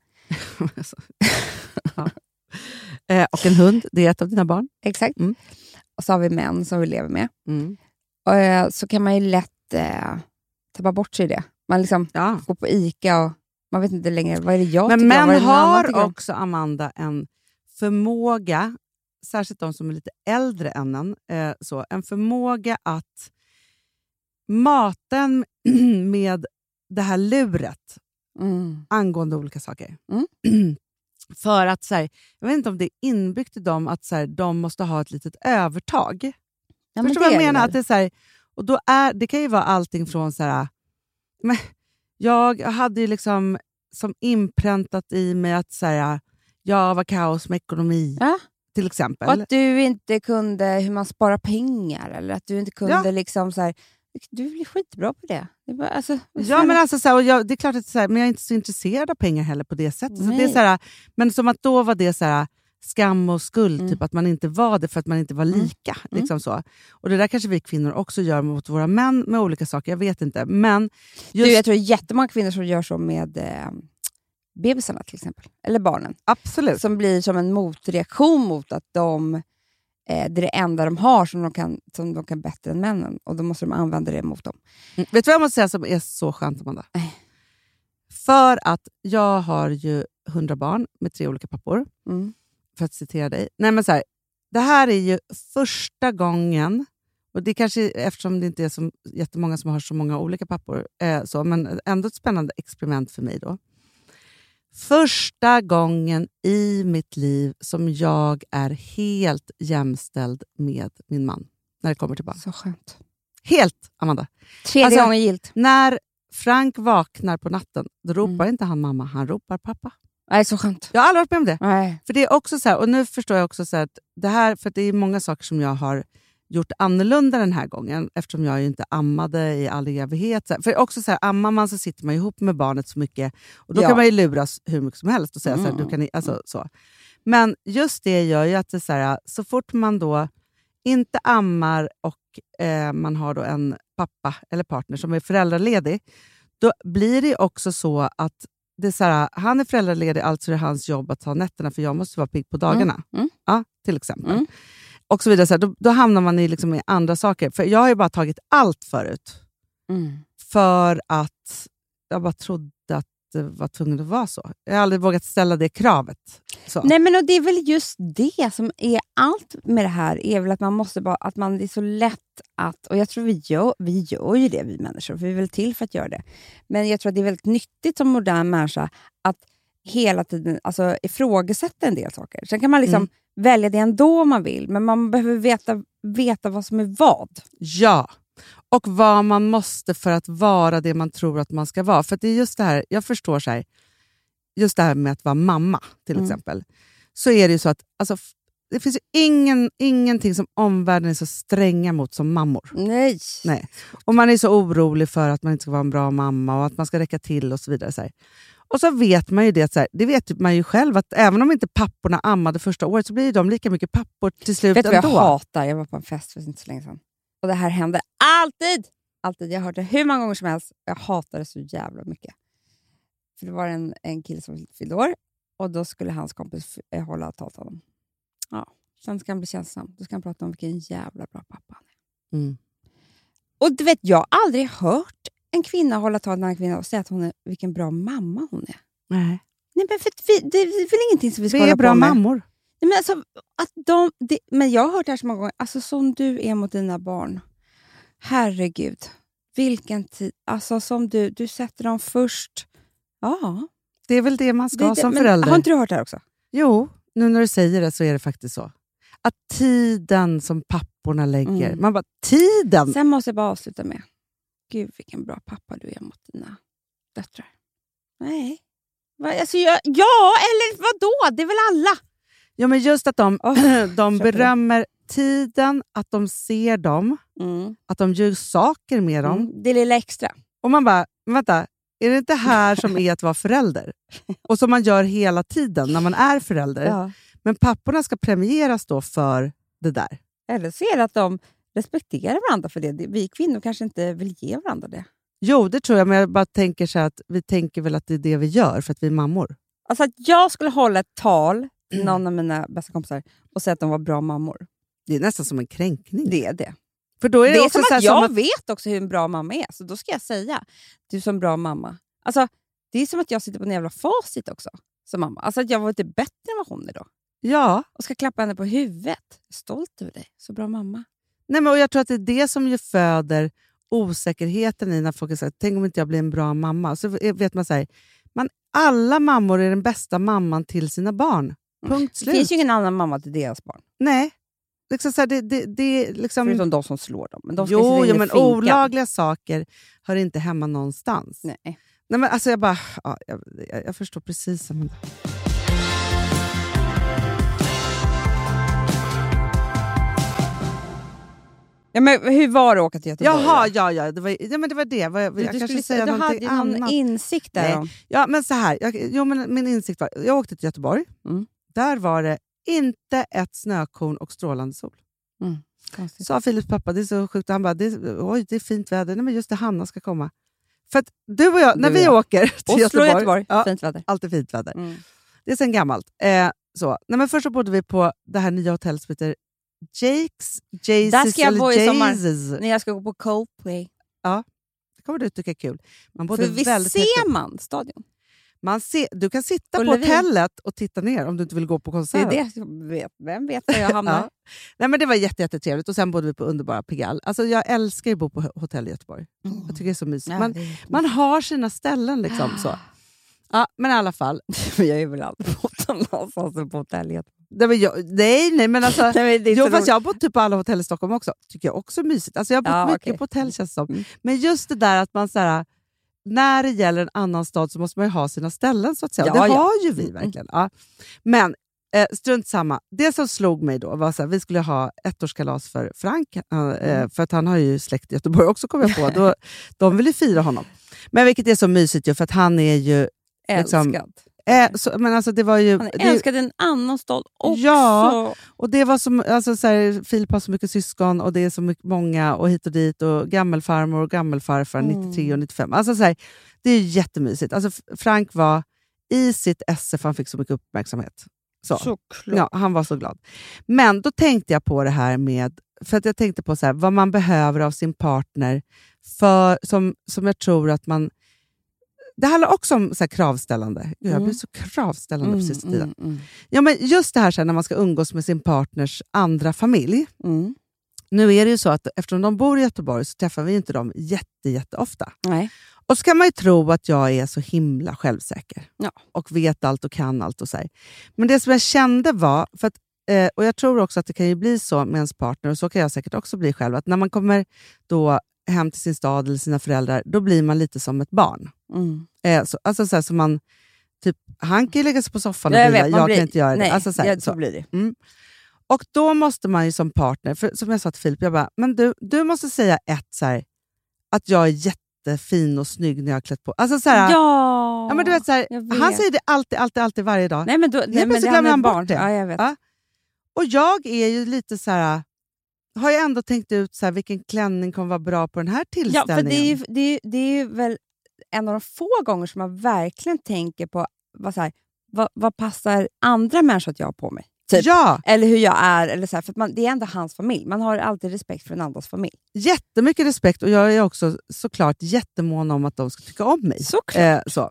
S4: Alltså. ja. eh, och en hund, det är ett av dina barn.
S3: Exakt.
S4: Mm.
S3: Och så har vi män som vi lever med.
S4: Mm.
S3: Och, eh, så kan man ju lätt eh, tappa bort sig i det. Man liksom
S4: Ja.
S3: går på ICA och man vet inte längre, vad är det jag
S4: Men
S3: tycker om, vad är
S4: män
S3: det någon annan tycker
S4: har
S3: om?
S4: också, Amanda, en förmåga, särskilt de som är lite äldre än en, eh, så, en förmåga att maten med det här luret
S3: Mm.
S4: angående olika saker. För att, så här, jag vet inte om det är inbyggt i dem att så här, de måste ha ett litet övertag.
S3: Ja, men
S4: Förstår du vad jag
S3: det är
S4: menar?
S3: väl.
S4: Att det, är så här, och då är, det kan ju vara allting från så här, äh, men jag hade ju liksom som inpräntat i mig att så här, jag var kaos med ekonomi,
S3: Ja.
S4: till exempel.
S3: Och att du inte kunde hur man sparar pengar eller att du inte kunde
S4: Ja.
S3: liksom så här, du blir skitbra på det. det är bara, alltså,
S4: Ja,
S3: snälla.
S4: men alltså, så här, och jag, det är klart att så här, men jag är inte så intresserad av pengar heller på det sättet. Så det är
S3: Nej.
S4: så här, men som att då var det så här, äh, skam och skuld,
S3: Mm.
S4: typ att man inte var det för att man inte var lika. Liksom så. Och Det där kanske vi kvinnor också gör mot våra män med olika saker, jag vet inte. Men just,
S3: du, jag tror det är jättemånga kvinnor som gör så med eh, bebisarna till exempel, eller barnen.
S4: absolut.
S3: Som blir som en motreaktion mot att de, eh, det är det enda de har som de, kan, som de kan bättre än männen och då måste de använda det mot dem.
S4: Mm. Vet du vad jag måste säga som är så skönt, Amanda? För att jag har ju hundra barn med tre olika pappor,
S3: Mm.
S4: för att citera dig. Nej, men så här, det här är ju första gången, och det kanske eftersom det inte är så jättemånga som har så många olika pappor, eh, så, men ändå ett spännande experiment för mig. då. Första gången i mitt liv som jag är helt jämställd med min man när det kommer till barn.
S3: Så skönt.
S4: Helt, Amanda!
S3: Tredje
S4: Alltså-
S3: gången gilt.
S4: När Frank vaknar på natten, då ropar inte han mamma, han ropar pappa.
S3: Nej, så skönt.
S4: Jag har aldrig varit med om det.
S3: Nej.
S4: För det är också så här, och nu förstår jag också så här att det här, för att det är många saker som jag har gjort annorlunda den här gången, eftersom jag ju inte ammade i all evighet. Så här, för också så här, ammar man så sitter man ju ihop med barnet så mycket, och då
S3: Ja.
S4: kan man ju luras hur mycket som helst och säga så här, du kan, i- alltså, så. Men just det gör ju att det är så, här, så fort man då inte ammar och eh, man har då en pappa eller partner som är föräldraledig, då blir det ju också så att det är så här, han är föräldraledig, alltså är det hans jobb att ta nätterna, för jag måste vara pigg på dagarna.
S3: mm.
S4: Ja, till exempel.
S3: Mm.
S4: Och så vidare. Så här, då, då hamnar man i, liksom, i andra saker. För Jag har ju bara tagit allt förut,
S3: Mm.
S4: för att jag bara trodde att det var tvungen att vara så. Jag har aldrig vågat ställa det kravet. Så.
S3: Nej, men och det är väl just det som är allt med det här, är väl att man måste bara, att man det är så lätt att, och jag tror vi gör, vi gör ju det vi människor, för vi är väl till för att göra det. Men jag tror att det är väldigt nyttigt som modern människa att hela tiden alltså, ifrågasätta en del saker. Sen kan man liksom
S4: Mm.
S3: välja det ändå om man vill, men man behöver veta, veta vad som är vad.
S4: Ja, och vad man måste för att vara det man tror att man ska vara. För att det är just det här, jag förstår så här, just det här med att vara mamma till
S3: Mm.
S4: exempel. Så är det ju så att alltså, f- det finns ju ingen, ingenting som omvärlden är så stränga mot som mammor.
S3: Nej.
S4: Nej. Och man är så orolig för att man inte ska vara en bra mamma och att man ska räcka till och så vidare. Så här. Och så vet man ju det, så här, det vet ju man ju själv, att även om inte papporna ammade första året så blir ju de lika mycket pappor till slut
S3: Vet du vad
S4: ändå.
S3: jag hatar? Jag var på en fest för inte så länge sedan. Och det här händer alltid! Alltid. Jag har hört det hur många gånger som helst. Jag hatar det så jävla mycket. För det var en, en kille som fyllde år och då skulle hans kompis f- eh, hålla tal till honom. Ja. Sen ska han bli känslosam. Då ska han prata om vilken jävla bra pappa han är.
S4: Mm.
S3: Och du vet, jag har aldrig hört en kvinna hålla tal till en annan kvinna och säga att hon är, vilken bra mamma hon är.
S4: Nej.
S3: Nej, men för att vi, det är väl ingenting som vi ska
S4: Vi är
S3: hålla
S4: bra
S3: på med.
S4: mammor.
S3: Nej, men, alltså, att de, det, men jag har hört det här så många gånger. Alltså som du är mot dina barn. Herregud. Vilken tid. Alltså som du, du sätter dem först. Ja.
S4: Det är väl det man ska
S3: Det- det-
S4: som
S3: men
S4: förälder.
S3: Har inte du hört det här också?
S4: Jo, nu när du säger det så är det faktiskt så. Att tiden som papporna lägger,
S3: Mm.
S4: man bara tiden!
S3: Sen måste jag bara avsluta med. Gud vilken bra pappa du är mot dina döttrar. Nej. Va, alltså, jag, ja, eller vadå? Det är väl alla?
S4: Ja, men just att de, de
S3: köper det.
S4: berömmer tiden, att de ser dem,
S3: Mm.
S4: att de gör saker med dem.
S3: Mm. Det lilla extra.
S4: Och man bara, "Men vänta, är det inte här som är att vara förälder? Och som man gör hela tiden när man är förälder. Men papporna ska premieras då för det där.
S3: Eller så är det att de respekterar varandra för det. Det- Vi kvinnor kanske inte vill ge varandra det.
S4: Jo, det tror jag, men jag bara tänker så här att vi tänker väl att det är det vi gör för att vi är mammor.
S3: Alltså att jag skulle hålla ett tal
S4: Mm.
S3: till någon av mina bästa kompisar och säga att de var bra mammor.
S4: Det är nästan som en kränkning.
S3: Det är det.
S4: För då
S3: Det
S4: är
S3: är,
S4: det, också
S3: som
S4: så här
S3: att jag
S4: som att
S3: vet också hur en bra mamma är, så då ska jag säga du som bra mamma. Alltså, det är som att jag sitter på en jävla facit också som mamma. Alltså att jag var lite bättre än vad hon är då.
S4: Ja.
S3: Och ska klappa henne på huvudet. Jag är stolt över dig. Så bra mamma.
S4: Nej, men, och jag tror att det är det som ju föder osäkerheten i när folk säger tänk om inte jag blir en bra mamma. Så är- vet man så här, man, alla mammor är den bästa mamman till sina barn. Punkt
S3: Mm. Det
S4: slut.
S3: finns ju ingen annan mamma till deras barn.
S4: Nej. Liksom så här, det, det, det, är liksom...
S3: Förutom de som slår dem. Men de ska sitta
S4: Jo,
S3: inne
S4: jo,
S3: i
S4: men
S3: finkan.
S4: olagliga saker hör inte hemma någonstans.
S3: Nej.
S4: Nej, men alltså jag bara... Ja, jag, jag, jag förstår precis. Amanda.
S3: Ja, men hur var det att åka till Göteborg?
S4: Jaha, ja, ja, det var ja, men det. Var det. Jag, jag
S3: du,
S4: kanske
S3: skulle,
S4: skulle säga
S3: du hade
S4: någonting
S3: ju någon
S4: annat.
S3: insikt där.
S4: Nej.
S3: om-
S4: Ja, men så här. Jag, jo, men min insikt var, jag åkte till Göteborg.
S3: Mm.
S4: Där var det inte ett snökorn och strålande sol.
S3: Konstigt.
S4: Sa Filips pappa, det är så sjukt. Han bara, det är, oj, det är fint väder. Nej, men just det, Hanna ska komma. För att du och jag, när
S3: Du och
S4: vi
S3: jag.
S4: åker till
S3: Oslo Göteborg,
S4: Göteborg,
S3: Göteborg.
S4: Ja,
S3: fint väder.
S4: alltid fint väder.
S3: Mm.
S4: Det är sen gammalt. Eh, så. Nej, men först så bodde vi på det här nya hotellet som heter Jakes. Jaces,
S3: Där ska jag
S4: eller
S3: bo i sommar.
S4: Jaces.
S3: När jag ska gå på Coldplay.
S4: Det kommer du tycka är kul. Man bodde
S3: För visst
S4: väldigt
S3: ser man stadion?
S4: Man ser, du kan sitta på
S3: Ullevi.
S4: hotellet och titta ner om du inte vill gå på
S3: Det är
S4: konserten.
S3: det jag vet. Vem vet var jag hamnar?
S4: Ja. Nej, men det var jätte, jättetrevligt och sen bodde vi på underbara Pigalle. Alltså, jag älskar ju att bo på hotell i Göteborg. Jag tycker det är så mysigt.
S3: Mm. Ja,
S4: Man,
S3: det är-
S4: man har sina ställen liksom. Så. Ja, men i alla fall.
S3: Men jag är väl aldrig utomlands alltså, på hotellet.
S4: Nej, men jag, nej, nej, men alltså.
S3: Nej, men det är
S4: Jo,
S3: så
S4: fast
S3: roligt.
S4: jag har bott typ på alla hotell i Stockholm också. tycker jag också är mysigt. Alltså, jag har bott
S3: Ja,
S4: mycket
S3: okej.
S4: på hotell känns det som.
S3: Mm.
S4: Men just det där att man så här, när det gäller en annan stad så måste man ju ha sina ställen. så att säga. Och
S3: Ja, Mm,
S4: det
S3: ja.
S4: har ju vi verkligen. Ja. Men eh, strunt samma. Det som slog mig då var att vi skulle ha ettårskalas för Frank. eh,
S3: Mm.
S4: Eh, för att han har ju släkt i Göteborg också kom jag på. Då, de vill ju fira honom. Men vilket är så mysigt ju för att han är ju... liksom-
S3: Älskad.
S4: Eh, så, men alltså det var ju...
S3: Han
S4: det-
S3: är älskad i en annan stad också.
S4: Ja. Och det var som, alltså så här, Filip har så mycket syskon och det är så mycket, många och hit och dit och gammelfarmor och gammelfarfar,
S3: Mm.
S4: 93 och 95. Alltså så här, det är jättemysigt. Alltså F- Frank var i sitt esse för han fick så mycket uppmärksamhet. Så.
S3: Såklart.
S4: Ja, han var så glad. Men då tänkte jag på det här med, för att jag tänkte på så här, vad man behöver av sin partner för, som, som jag tror att man... Det handlar också om så här kravställande. Gud, Jag
S3: Mm.
S4: blir så kravställande på sista tiden.
S3: mm, mm,
S4: Ja, men just det här sen när man ska umgås med sin partners andra familj.
S3: mm.
S4: Nu är det ju så att eftersom de bor i Göteborg så träffar vi ju inte dem jätte, jätteofta.
S3: Nej.
S4: Och så kan man ju tro att jag är så himla självsäker
S3: Ja.
S4: och vet allt och kan allt. och så här. Men det som jag kände var, för att, eh, och jag tror också att det kan ju bli så med ens partner, och så kan jag säkert också bli själv, att när man kommer då hem till sin stad eller sina föräldrar, då blir man lite som ett barn.
S3: Mm.
S4: Eh, så, alltså så här, så man, typ, han kan ju lägga sig på soffan och
S3: Jag
S4: vila,
S3: vet,
S4: jag,
S3: man blir-
S4: kan inte göra
S3: Nej,
S4: det. Alltså, så här,
S3: jag,
S4: så.
S3: så blir det.
S4: Och då måste man ju som partner, för som jag sa till Filip, jag bara, men du, du måste säga ett så här, att jag är jättefin och snygg när jag har klätt på Alltså så här,
S3: Ja.
S4: ja, men du vet, så här,
S3: jag vet.
S4: han säger det alltid, alltid, alltid varje dag.
S3: Nej men, då, nej, men
S4: plötsligt
S3: det handlar
S4: glömmer han
S3: om
S4: bort
S3: barn.
S4: det.
S3: Ja, jag vet.
S4: Ja. Och jag är ju lite så här, har jag ändå tänkt ut så här, vilken klänning kommer vara bra på den här
S3: Ja,
S4: tillställningen?
S3: för det är, ju, det, är, ju- det är ju väl en av de få gånger som man verkligen tänker på vad, så här, vad, vad passar andra människor att jag har på mig. typ.
S4: ja
S3: Eller hur jag är. Eller så här, för att man, det är ändå hans familj. Man har alltid respekt för en andras familj.
S4: jättemycket respekt och jag är också såklart jättemån om att de ska tycka om mig.
S3: Såklart.
S4: Eh, så.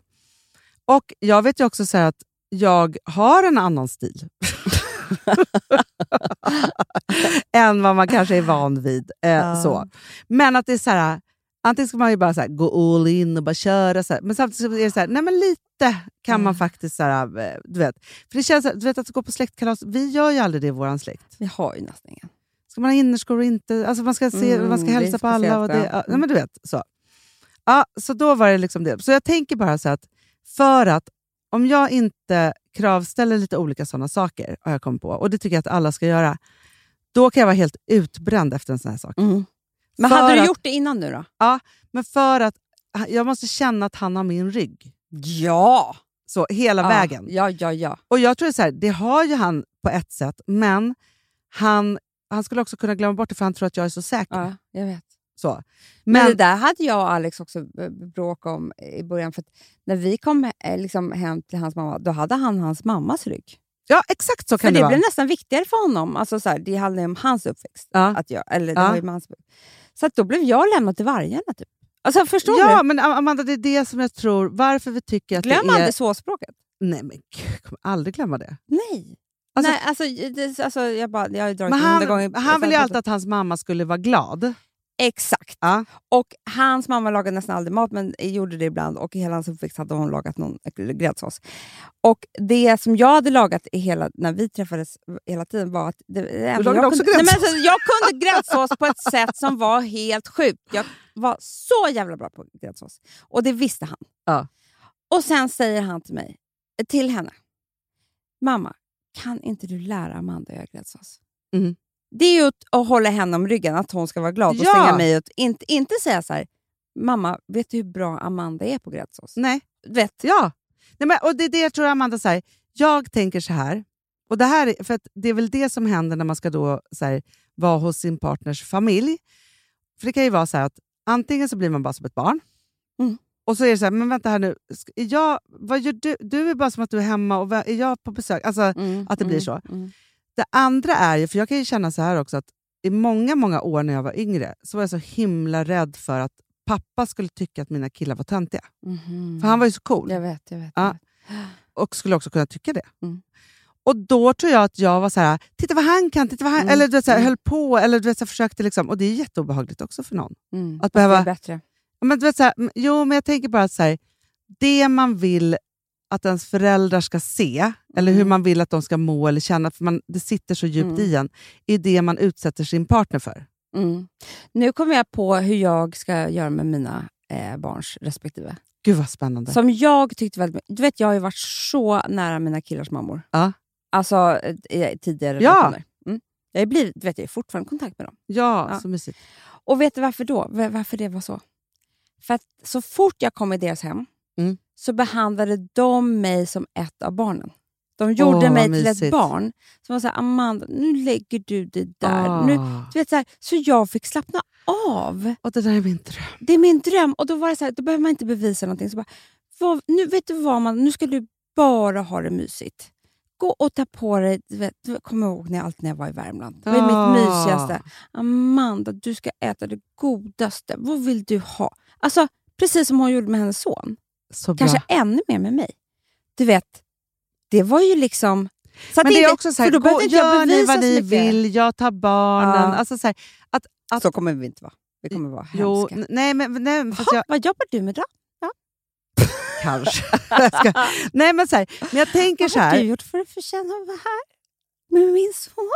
S4: Och jag vet ju också så här att jag har en annan stil. än vad man kanske är van vid. Eh,
S3: Ja.
S4: så. Men att det är så här, antingen ska man ju bara så här, gå all in och bara köra, så här. men samtidigt så är det så här, nej men lite kan
S3: Mm.
S4: man faktiskt, så här, eh, du vet. För det känns, så här, du vet att gå på släktkalas, vi gör ju aldrig det i vår släkt.
S3: Vi har ju nästan ingen.
S4: Ska man ha innerskor och inte? Alltså man ska, se,
S3: Mm,
S4: man ska
S3: det är
S4: hälsa på alla. Och det,
S3: speciellt, ja. Mm.
S4: ja, nej, men du vet, så. Ja, så då var det liksom det. Så jag tänker bara så att, för att om jag inte kravställer lite olika sådana saker, har jag kommit på, och det tycker jag att alla ska göra, då kan jag vara helt utbränd efter en sån här sak.
S3: Mm. Men
S4: För
S3: hade du
S4: att-
S3: gjort det innan nu då?
S4: Men för att jag måste känna att han har min rygg.
S3: Ja!
S4: Så, hela
S3: ja.
S4: vägen.
S3: Ja, ja, ja.
S4: Och jag tror så här, det har ju han på ett sätt, men han, han skulle också kunna glömma bort det för han tror att jag är så säker.
S3: ja jag vet.
S4: Så.
S3: Men, det där hade jag och Alex också eh, bråk om i början. För att när vi kom eh, liksom hem till hans mamma, då hade han hans mammas rygg.
S4: Ja, exakt så
S3: För
S4: kan
S3: det
S4: det vara.
S3: blev nästan viktigare för honom. Alltså så här, det handlar ju om hans uppväxt.
S4: Ja.
S3: Att jag, eller det
S4: Ja.
S3: var ju med hans uppväxt. Så att då blev jag lämnad till vargarna. Typ. Alltså, förstår
S4: Ja,
S3: du?
S4: men Am- Amanda, det är det som jag tror, varför vi tycker att
S3: Glöm
S4: det är...
S3: aldrig såspråket.
S4: Nej, men gud, jag kommer aldrig glömma det.
S3: Nej.
S4: Alltså-
S3: Nej, alltså, det, alltså, jag, bara, jag har ju dragit
S4: Men
S3: det hundra
S4: han,
S3: gånger.
S4: han ville ju alltid att hans mamma skulle vara glad.
S3: Exakt.
S4: Ja.
S3: Och hans mamma lagade nästan aldrig mat, men gjorde det ibland. Och i hela hans uppväxt hade hon lagat någon eh, gräddsås. Och det som jag hade lagat i hela, när vi träffades hela tiden var att... Det, det enda
S4: lagade
S3: jag,
S4: också
S3: kunde, nej, men
S4: gräddsås.
S3: alltså, jag kunde gräddsås på ett sätt som var helt sjukt. Jag var så jävla bra på gräddsås. Och det visste han.
S4: Ja.
S3: Och sen säger han till mig, till henne. Mamma, kan inte du lära Amanda att göra gräddsås?
S4: Mm.
S3: det är ju att, att hålla henne om ryggen, att hon ska vara glad och
S4: Ja.
S3: stänga mig ut. Inte, inte säga så här, mamma, vet du hur bra Amanda är på gräddsås?
S4: Nej.
S3: Du vet,
S4: Ja. Nej, men, och det är det jag tror Amanda säger. Jag tänker så här, och det här är, för att det är väl det som händer när man ska då, så här, vara hos sin partners familj. För det kan ju vara så här att antingen så blir man bara som ett barn.
S3: Mm.
S4: Och så är det så här, men vänta här nu, ska- är jag, vad gör du? Du är bara som att du är hemma och vad- är jag på besök? Alltså,
S3: Mm,
S4: att det blir
S3: mm,
S4: så.
S3: mm.
S4: Det andra är ju, för jag kan ju känna så här också, att i många, många år när jag var yngre så var jag så himla rädd för att pappa skulle tycka att mina killar var töntiga.
S3: Mhm.
S4: För han var ju så cool
S3: Jag vet, jag vet.
S4: Ja.
S3: jag vet.
S4: och skulle också kunna tycka det.
S3: Mm.
S4: Och då tror jag att jag var så här, titta vad han kan, titta vad han...
S3: Mm.
S4: Eller du vet, så här,
S3: Mm.
S4: höll på, eller du vet, så här, försökte liksom. Och det är jätteobehagligt också för någon.
S3: Mm.
S4: Att behöva-
S3: Det är bättre.
S4: Men du vet, så här, m- jo, men jag tänker bara att så här, det man vill att ens föräldrar ska se, eller hur
S3: Mm.
S4: man vill att de ska må eller känna, för man, det sitter så djupt
S3: Mm.
S4: i en, är det man utsätter sin partner för.
S3: Mm. Nu kommer jag på hur jag ska göra med mina eh, barns respektive.
S4: Gud vad spännande.
S3: Som jag tyckte väldigt Du vet, jag har ju varit så nära mina killars mammor.
S4: Ja.
S3: Alltså eh, i tidigare
S4: Ja.
S3: relationer. Mm. Jag, blir, du vet, jag är fortfarande i kontakt med dem.
S4: ja,
S3: Ja.
S4: så mysigt.
S3: Och vet du varför då? V- Varför det var så? För att så fort jag kom i deras hem
S4: Mm.
S3: så behandlade de mig som ett av barnen. De gjorde
S4: Åh,
S3: mig
S4: vad
S3: till ett
S4: mysigt.
S3: barn. Som var såhär, Amanda, nu lägger du det där. Nu,
S4: Ah.
S3: du vet, så, här, så jag fick slappna av.
S4: Och det där är min dröm.
S3: Det är min dröm. Och Då var det så här, då behöver man inte bevisa någonting. Så bara, vad, nu, vet du vad, man, nu ska du bara ha det mysigt. Gå och ta på dig... Du vet, du kommer ihåg när jag, alltid när jag var i Värmland. Det var ju
S4: Ah.
S3: mitt mysigaste. Amanda, du ska äta det godaste. Vad vill du ha? Alltså, precis som hon gjorde med hennes son.
S4: Så bra.
S3: Kanske ännu mer med mig. Du vet, det var ju liksom... Så att
S4: Men det är
S3: inte-
S4: också så här,
S3: för då
S4: gå,
S3: behövde inte jag
S4: gör ni
S3: bevisa
S4: vad
S3: så
S4: ni
S3: mycket.
S4: vill, jag tar barnen.
S3: Ja.
S4: Alltså så här, att, att,
S3: Så kommer vi inte vara. Vi kommer vara hemska.
S4: jo, n- nej, men, nej, men fast
S3: Jaha,
S4: jag
S3: Vad jobbar du med idag?
S4: kanske. Jag ska, nej, men så här, men jag tänker så
S3: Vad har du
S4: här,
S3: gjort för att förtjäna att vara här med min son?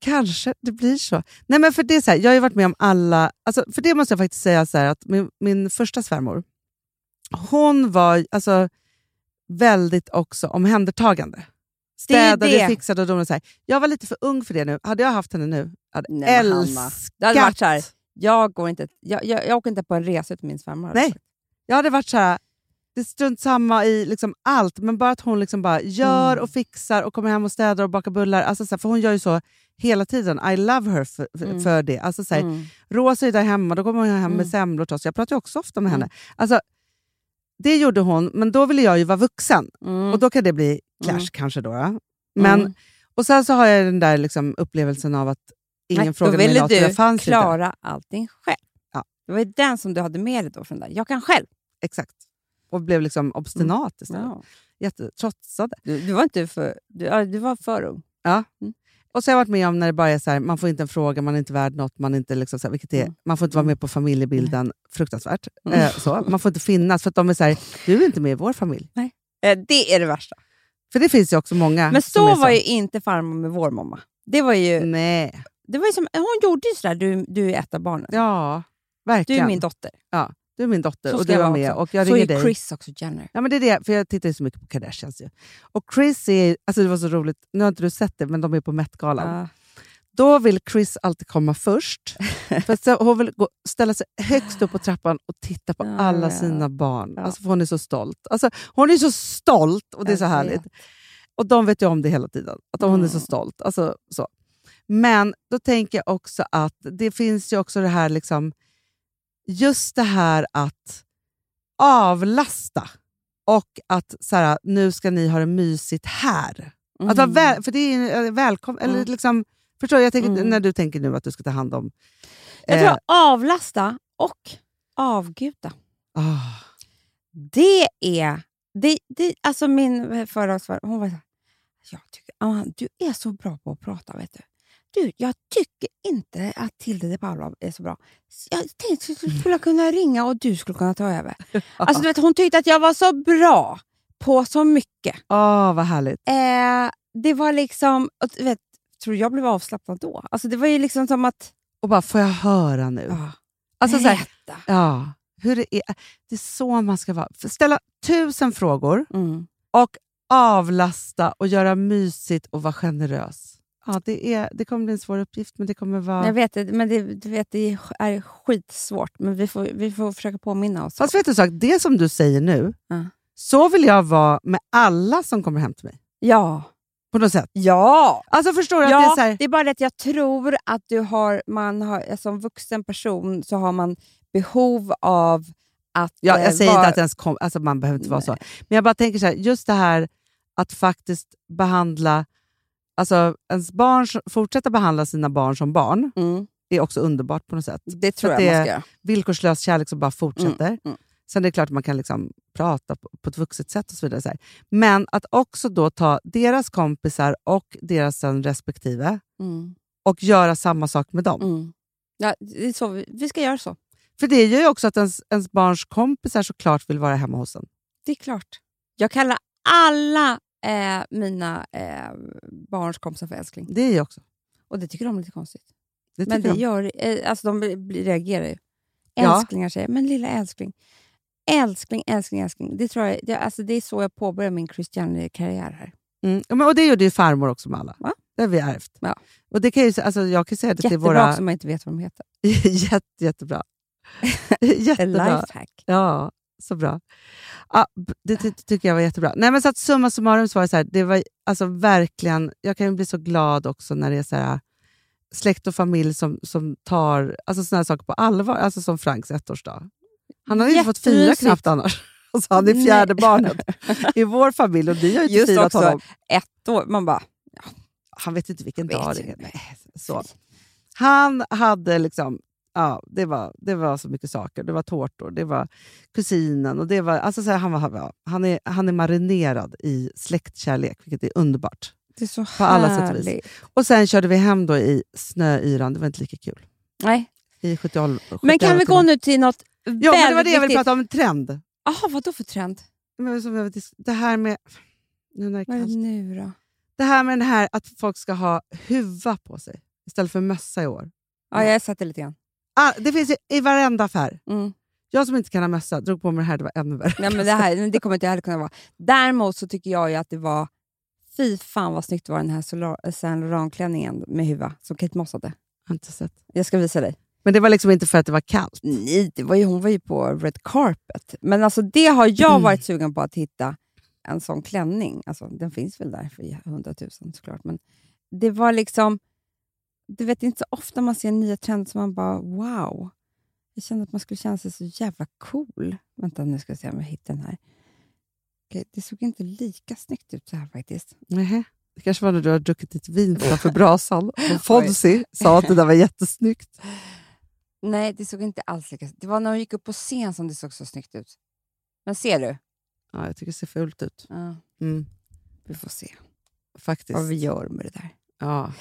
S4: kanske det blir så. Nej, men för det är så här, jag har ju varit med om alla, alltså, för det måste jag faktiskt säga så här, att min, min första svärmor, hon var alltså, väldigt också omhändertagande.
S3: Det är ju
S4: Städade,
S3: det.
S4: fixade och donade. så här. Jag var lite för ung för det nu. Hade jag haft henne nu, hade
S3: Nej,
S4: jag
S3: men Hanna,
S4: älskat
S3: det hade varit så här, jag, går inte, jag, jag, jag åker inte på en resa utan min svärmor. alltså. har
S4: Nej.
S3: sagt.
S4: Jag hade varit så här, det är strunt samma i liksom allt, men bara att hon liksom bara gör
S3: Mm.
S4: och fixar och kommer hem och städar och bakar bullar. Alltså så här, för hon gör ju så hela tiden. I love her för, för,
S3: Mm.
S4: för det. Alltså så här,
S3: Mm.
S4: Rosa är där hemma, då kommer hon hem
S3: Mm.
S4: med semlor till oss. Jag pratar ju också ofta med
S3: Mm.
S4: henne. Alltså, det gjorde hon, men då ville jag ju vara vuxen.
S3: Mm.
S4: Och då kan det bli clash
S3: Mm.
S4: kanske. Då, då. Men, Och sen så har jag den där liksom, upplevelsen av att ingen
S3: Nej,
S4: frågade
S3: då
S4: mig
S3: ville
S4: något. för
S3: du
S4: Jag fanns ju inte.
S3: klara allting själv.
S4: Ja.
S3: Det var ju den som du hade med dig då från där. Jag kan själv.
S4: Exakt. Och blev liksom obstinat istället.
S3: Ja.
S4: Jättetrotsad.
S3: Du, du, var inte för, du, ja, du var för ung. Mm.
S4: Och så har jag varit med om när det bara är så här, man får inte en fråga, man är inte värd något, man, är inte liksom så här, vilket är,
S3: Mm.
S4: man får inte vara med på familjebilden. Fruktansvärt. Eh, så. Man får inte finnas, för att de är så här, du är inte med i vår familj.
S3: Eh, Det är det värsta.
S4: För det finns ju också många
S3: Men
S4: som Mm. är
S3: så var ju inte farmor med vår mamma. Det var ju,
S4: Nej.
S3: det var ju som, hon gjorde ju sådär, du, du är ett av barnen.
S4: Ja,
S3: du
S4: verkligen.
S3: är min dotter.
S4: du är min dotter
S3: Så
S4: och
S3: ska
S4: du
S3: jag
S4: var
S3: vara
S4: med.
S3: också.
S4: Och jag
S3: så
S4: ringer
S3: är
S4: dig.
S3: Chris också Jenner.
S4: Ja, men det är det, för jag tittar ju så mycket på Kardashians. Ju. Och Chris är, alltså det var så roligt, nu har inte du sett det, men de är på Met-galan.
S3: Ja.
S4: Då vill Chris alltid komma först. för att så, hon vill gå, ställa sig högst upp på trappan och titta på
S3: Ja,
S4: alla
S3: ja.
S4: sina barn.
S3: Ja.
S4: Alltså, för hon är så stolt. Alltså, hon är så stolt och det är
S3: Jag
S4: så
S3: vet.
S4: härligt. Och de vet ju om det hela tiden, att hon är så
S3: Mm.
S4: stolt. Alltså, så. Men då tänker jag också att det finns ju också det här liksom, just det här att avlasta och att så här, nu ska ni ha det mysigt här. Att vara väl, för det är ju välkommen, eller
S3: Mm.
S4: liksom, förstår du? jag tänker,
S3: Mm.
S4: när du tänker nu att du ska ta hand om...
S3: Jag
S4: eh,
S3: tror avlasta och avguda.
S4: ah,
S3: Det är... Det, det, alltså min förra svar, hon var så här, jag tycker, Amanda, du är så bra på att prata. vet Du Du, jag tycker inte att Tilde de Paula är så bra. Så Jag tänkte att du skulle kunna ringa och du skulle kunna ta över. Alltså, du vet, hon tyckte att jag var så bra på så mycket.
S4: ah, vad härligt.
S3: Eh, det var liksom... Och, du vet, tror jag blev avslappnad då? Alltså, det var ju liksom som att...
S4: Och bara, får jag höra nu?
S3: Ja,
S4: alltså, så här,
S3: berätta.
S4: ja, hur det, är, det är så man ska vara. Ställa tusen frågor,
S3: Mm.
S4: avlasta och göra mysigt och vara generös. Ja, det, är, det kommer bli en svår uppgift, men det kommer vara...
S3: Jag vet, det, men det, du vet, det är skitsvårt, men vi får, vi får försöka påminna oss.
S4: Fast vet du en sak? Det som du säger nu,
S3: Ja.
S4: så vill jag vara med alla som kommer hem till mig.
S3: Ja.
S4: På något sätt.
S3: Ja!
S4: Alltså förstår du?
S3: Ja,
S4: att det är så här,
S3: bara det att jag tror att du har, man har, som vuxen person så har man behov av att...
S4: ja,
S3: eh,
S4: jag säger
S3: vara-
S4: inte att ens kom, alltså man behöver inte vara så. Men jag bara tänker så här, just det här att faktiskt behandla, alltså ens barn, som- fortsätta behandla sina barn som barn
S3: mm,
S4: är också underbart på något sätt.
S3: Det tror jag
S4: att det-
S3: man ska göra.
S4: Villkorslös kärlek som bara fortsätter.
S3: mm.
S4: Sen är det klart att man kan liksom prata på, på ett vuxet sätt och så vidare. Så här. Men att också då ta deras kompisar och deras sen respektive
S3: Mm,
S4: och göra samma sak med dem.
S3: mm. Ja, det är så, vi, vi ska göra så.
S4: För det gör ju också att ens, ens barns kompisar såklart vill vara hemma hos en.
S3: Det är klart. Jag kallar alla eh, mina eh, barns kompisar för älskling.
S4: Det är ju också.
S3: Och det tycker de är lite konstigt.
S4: Det
S3: Men
S4: tycker
S3: det
S4: de.
S3: gör, eh, alltså de blir- blir- reagerar ju.
S4: Ja.
S3: Älsklingar säger men lilla älskling. Älskling, älskling, älskling. Det, tror jag, det, alltså det är så jag påbörjar min Christian-karriär här.
S4: Mm. Ja, men, och det gjorde ju farmor också med alla.
S3: Va?
S4: Det har vi ärvt.
S3: Ja.
S4: Och det kan ju, alltså, jag kan ju säga det till
S3: Jättebra
S4: våra...
S3: också om man inte vet vad de heter.
S4: Jätte, jättebra.
S3: A
S4: jättebra.
S3: lifehack.
S4: Ja, så bra. Ja, b- det ty tycker jag var jättebra. Nej, men så att summa summarum så var det så här, det var alltså verkligen, jag kan ju bli så glad också när det är så här, släkt och familj som, som tar alltså såna här saker på allvar, alltså som Franks ettårsdag. Han har ju inte fått fira
S3: Jättemysigt.
S4: knappt annars. Alltså, han är
S3: Nej.
S4: fjärde barnet i vår familj och vi har ju inte
S3: Just
S4: firat
S3: också.
S4: honom.
S3: Ett år, man bara...
S4: Han vet inte vilken
S3: Vet
S4: dag det
S3: ju
S4: är. Nej, Så. Han hade liksom... Ja, det var, det var så mycket saker. Det var tårtor, det var kusinen och det var... Alltså så här, han, var, han var- han, är, han är marinerad i släktkärlek, vilket är underbart.
S3: Det är så
S4: På alla sätt och vis. Och sen körde vi hem då i snöyran. Det var inte lika kul.
S3: Nej.
S4: I 78,
S3: Men kan vi gå nu till något
S4: Ja, men det var
S3: väldigt
S4: det jag ville
S3: viktigt?
S4: prata om. En trend.
S3: Jaha, vadå för trend?
S4: Men som jag vill dis- Det här med... Nu när det, är
S3: Vad är det
S4: kallt.
S3: nu då?
S4: det här med den här att folk ska ha huva på sig istället för mössa i år.
S3: Ja, jag satte lite grann.
S4: Ah, det finns ju i varenda affär.
S3: Mm.
S4: Jag som inte kan ha mössa drog på mig det här, det var ännu värre.
S3: Nej, men det, här, det kommer inte jag heller kunna vara. Däremot så tycker jag ju att det var... Fy fan vad snyggt det var den här Sola- Saint Laurent-klänningen med huva som Kate Moss hade.
S4: Jag har inte sett.
S3: Jag ska visa dig.
S4: Men det var liksom inte för att det var kallt.
S3: Nej, det var ju, hon var ju på red carpet. Men alltså det har jag
S4: Mm.
S3: varit sugen på att hitta en sån klänning. Alltså, den finns väl där för hundratusen såklart. Men det var liksom... Du vet, det är inte så ofta man ser nya trender som man bara wow. Jag kände att man skulle känna sig så jävla cool. Vänta, nu ska jag se om jag hittar den här. Okej, det såg inte lika snyggt ut så här faktiskt.
S4: Nej. Det kanske var när du har druckit ditt vin framför brasan och Fonzie sa att det där var jättesnyggt.
S3: Nej, det såg inte alls lika... Det var när hon gick upp på scen som det såg så snyggt ut. Men ser du?
S4: Ja, jag tycker det ser fult ut.
S3: Ja,
S4: Mm,
S3: vi får se
S4: faktiskt.
S3: vad vi gör med det där.
S4: Ja.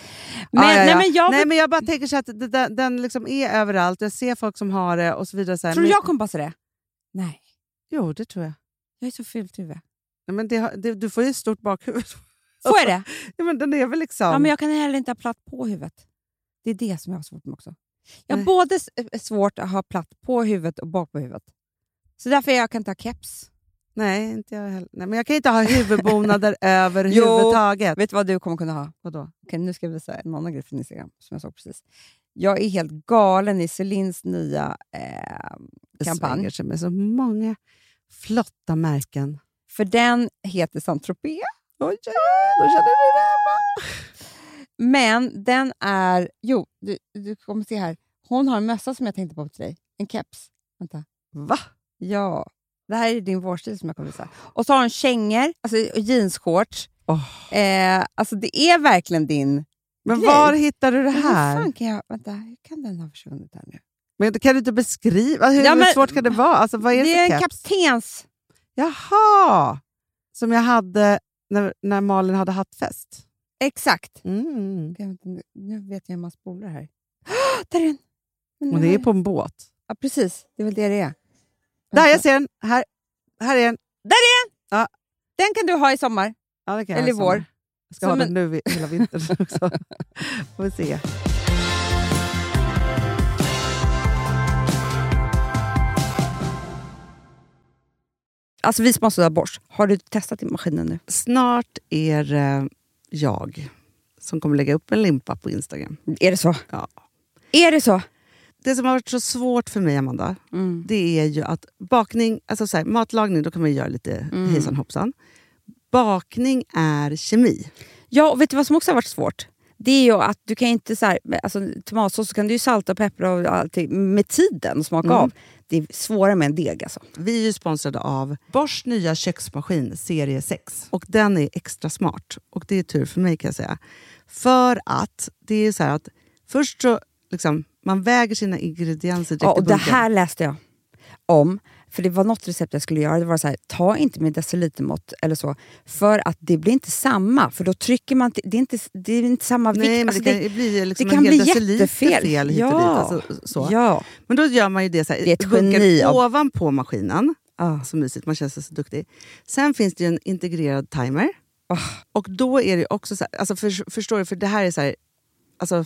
S3: Men,
S4: ja, ja, ja.
S3: Nej, men jag
S4: Nej, men jag bara tänker så här att det, den, den liksom är överallt. Jag ser folk som har det och så vidare. Så här.
S3: tror
S4: men,
S3: jag kommer passa det? Nej,
S4: Jo, det tror jag.
S3: jag är så fult huvud.
S4: Nej, men det, har- det, du får ju ett stort bakhuvud.
S3: Får jag det?
S4: Ja, men den är väl liksom...
S3: Ja, men jag kan heller inte ha platt på huvudet. Det är det som jag har svårt med också. Jag har
S4: Nej.
S3: både s- eh, svårt att ha platt på huvudet och bak på huvudet. Så därför jag kan inte ha keps.
S4: Nej, inte jag heller. Nej, men jag kan inte ha huvudbonader överhuvudtaget.
S3: Vet du vad du kommer kunna ha?
S4: Vadå?
S3: Okej, nu ska jag visa en annan grej från Instagram som jag såg precis. Jag är helt galen i Celines nya... Eh,
S4: Det
S3: Kampanj.
S4: svänger sig med så många flotta märken.
S3: för den heter Saint Tropez.
S4: Oj, oj, oj, då känner du det hemma.
S3: Men den är... Jo, du, du kommer se här. Hon har en mössa som jag tänkte på till dig. En keps. Vänta.
S4: Va?
S3: Ja. Det här är din vårstil som jag kommer visa. Och så har hon kängor, alltså och jeansshorts.
S4: Åh.
S3: Eh, alltså det är verkligen din...
S4: Men
S3: Grej.
S4: var hittar du det
S3: Men Hur
S4: här?
S3: fan kan jag... Vänta, hur kan den ha försvunnit här nu?
S4: Men det kan du inte beskriva? Hur
S3: Ja, men-
S4: svårt kan det vara? Alltså, vad är det,
S3: det är
S4: för
S3: en
S4: keps?
S3: kaptens...
S4: Jaha! Som jag hade när, när Malin hade hattfest.
S3: Exakt.
S4: Mm.
S3: Okej, vänta, nu- Nu vet jag hur man spolar här. Där är den! Men
S4: Och
S3: nu
S4: det
S3: har
S4: är
S3: jag-
S4: på en båt.
S3: Ja, precis. Det är väl det det är.
S4: Där, jag ser den! Här, här är den.
S3: Den kan du ha i sommar.
S4: Ja, det kan
S3: Eller
S4: jag ha i sommar.
S3: vår.
S4: Jag ska
S3: Som
S4: ha den
S3: en-
S4: nu i- hela vintern också. Får vi se.
S3: Alltså vi som har sådär borst, har du testat i maskinen nu?
S4: Snart är eh, jag som kommer lägga upp en limpa på Instagram.
S3: Är det så?
S4: Ja.
S3: Är det så?
S4: Det som har varit så svårt för mig, Amanda, det är ju att bakning, alltså så här, matlagning, då kan man ju göra lite hejsan hoppsan. Bakning är kemi.
S3: Ja, och vet du vad som också har varit svårt? Det är ju att du kan inte så här, alltså, tomatsås så kan du ju salta och peppra och allting med tiden och smaka av. Det är svårare med en deg alltså.
S4: Vi är ju sponsrade av Bors nya köksmaskin serie 6. Och den är extra smart. Och det är tur för mig kan jag säga. För att det är så här att först så liksom, man väger sina ingredienser direkt
S3: Ja, och
S4: i
S3: det
S4: bunken.
S3: här läste jag om. För det var något recept jag skulle göra. Det var så här, ta inte med decilitermått eller så. För att det blir inte samma. För då trycker man... till- Det är inte, det är inte samma vikt.
S4: Nej, men
S3: Alltså,
S4: det kan ju bli liksom
S3: det kan
S4: en hel
S3: bli
S4: deciliter
S3: jättefel.
S4: fel hit och dit.
S3: Ja.
S4: Alltså, så.
S3: Ja.
S4: Men då gör man ju det så här,
S3: Det är ett
S4: dunkar
S3: geni av-
S4: ovanpå maskinen.
S3: Ah.
S4: Så mysigt, man känns så duktig. Sen finns det ju en integrerad timer.
S3: Ah.
S4: Och då är det också så här, alltså för, förstår du, för det här är så här, alltså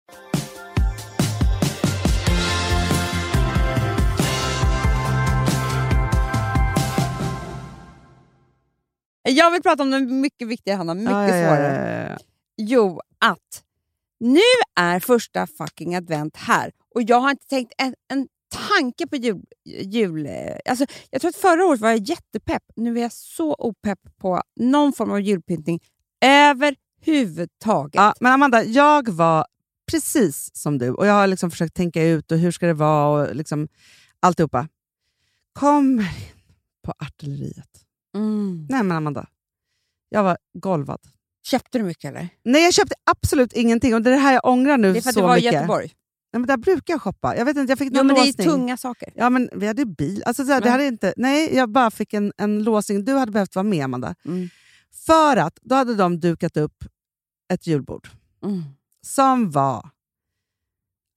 S3: Jag vill prata om den mycket viktigare, Hanna. Mycket
S4: Ja, ja, ja,
S3: svårare.
S4: ja, ja.
S3: Jo, att nu är första fucking advent här och jag har inte tänkt en, en tanke på jul... jul eh, alltså, jag tror att förra året var jag jättepepp. Nu är jag så opepp på någon form av julpyntning överhuvudtaget.
S4: Ja, men Amanda, jag var precis som du och jag har liksom försökt tänka ut och hur ska det vara och liksom alltihopa. Kommer in på artilleriet.
S3: Mm.
S4: Nej men Amanda, jag var golvad.
S3: Köpte du mycket eller?
S4: Nej, jag köpte absolut ingenting och det är det här jag ångrar nu
S3: Det är för att
S4: så
S3: du var
S4: mycket.
S3: i Göteborg.
S4: Nej, men där brukar jag shoppa. Jag vet inte, jag fick
S3: Jo,
S4: någon
S3: men det är ju
S4: låsning.
S3: tunga saker.
S4: Ja, men vi hade bil. Alltså, så här, det här är inte, nej, jag bara fick en, en låsning. Du hade behövt vara med, Amanda.
S3: Mm.
S4: För att då hade de dukat upp ett julbord
S3: Mm.
S4: som var...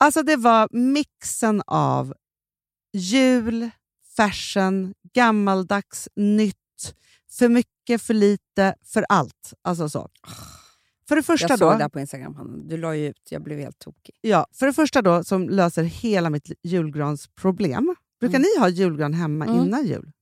S4: Alltså det var mixen av jul, fashion, gammaldags, nytt, för mycket, för lite, för allt. Alltså så. För det första
S3: Jag
S4: då...
S3: såg det här på Instagram. Hanna. Du la ju ut, jag blev helt tokig.
S4: Ja, för det första då, som löser hela mitt julgransproblem. Brukar ni ha julgran hemma
S3: Mm.
S4: innan jul?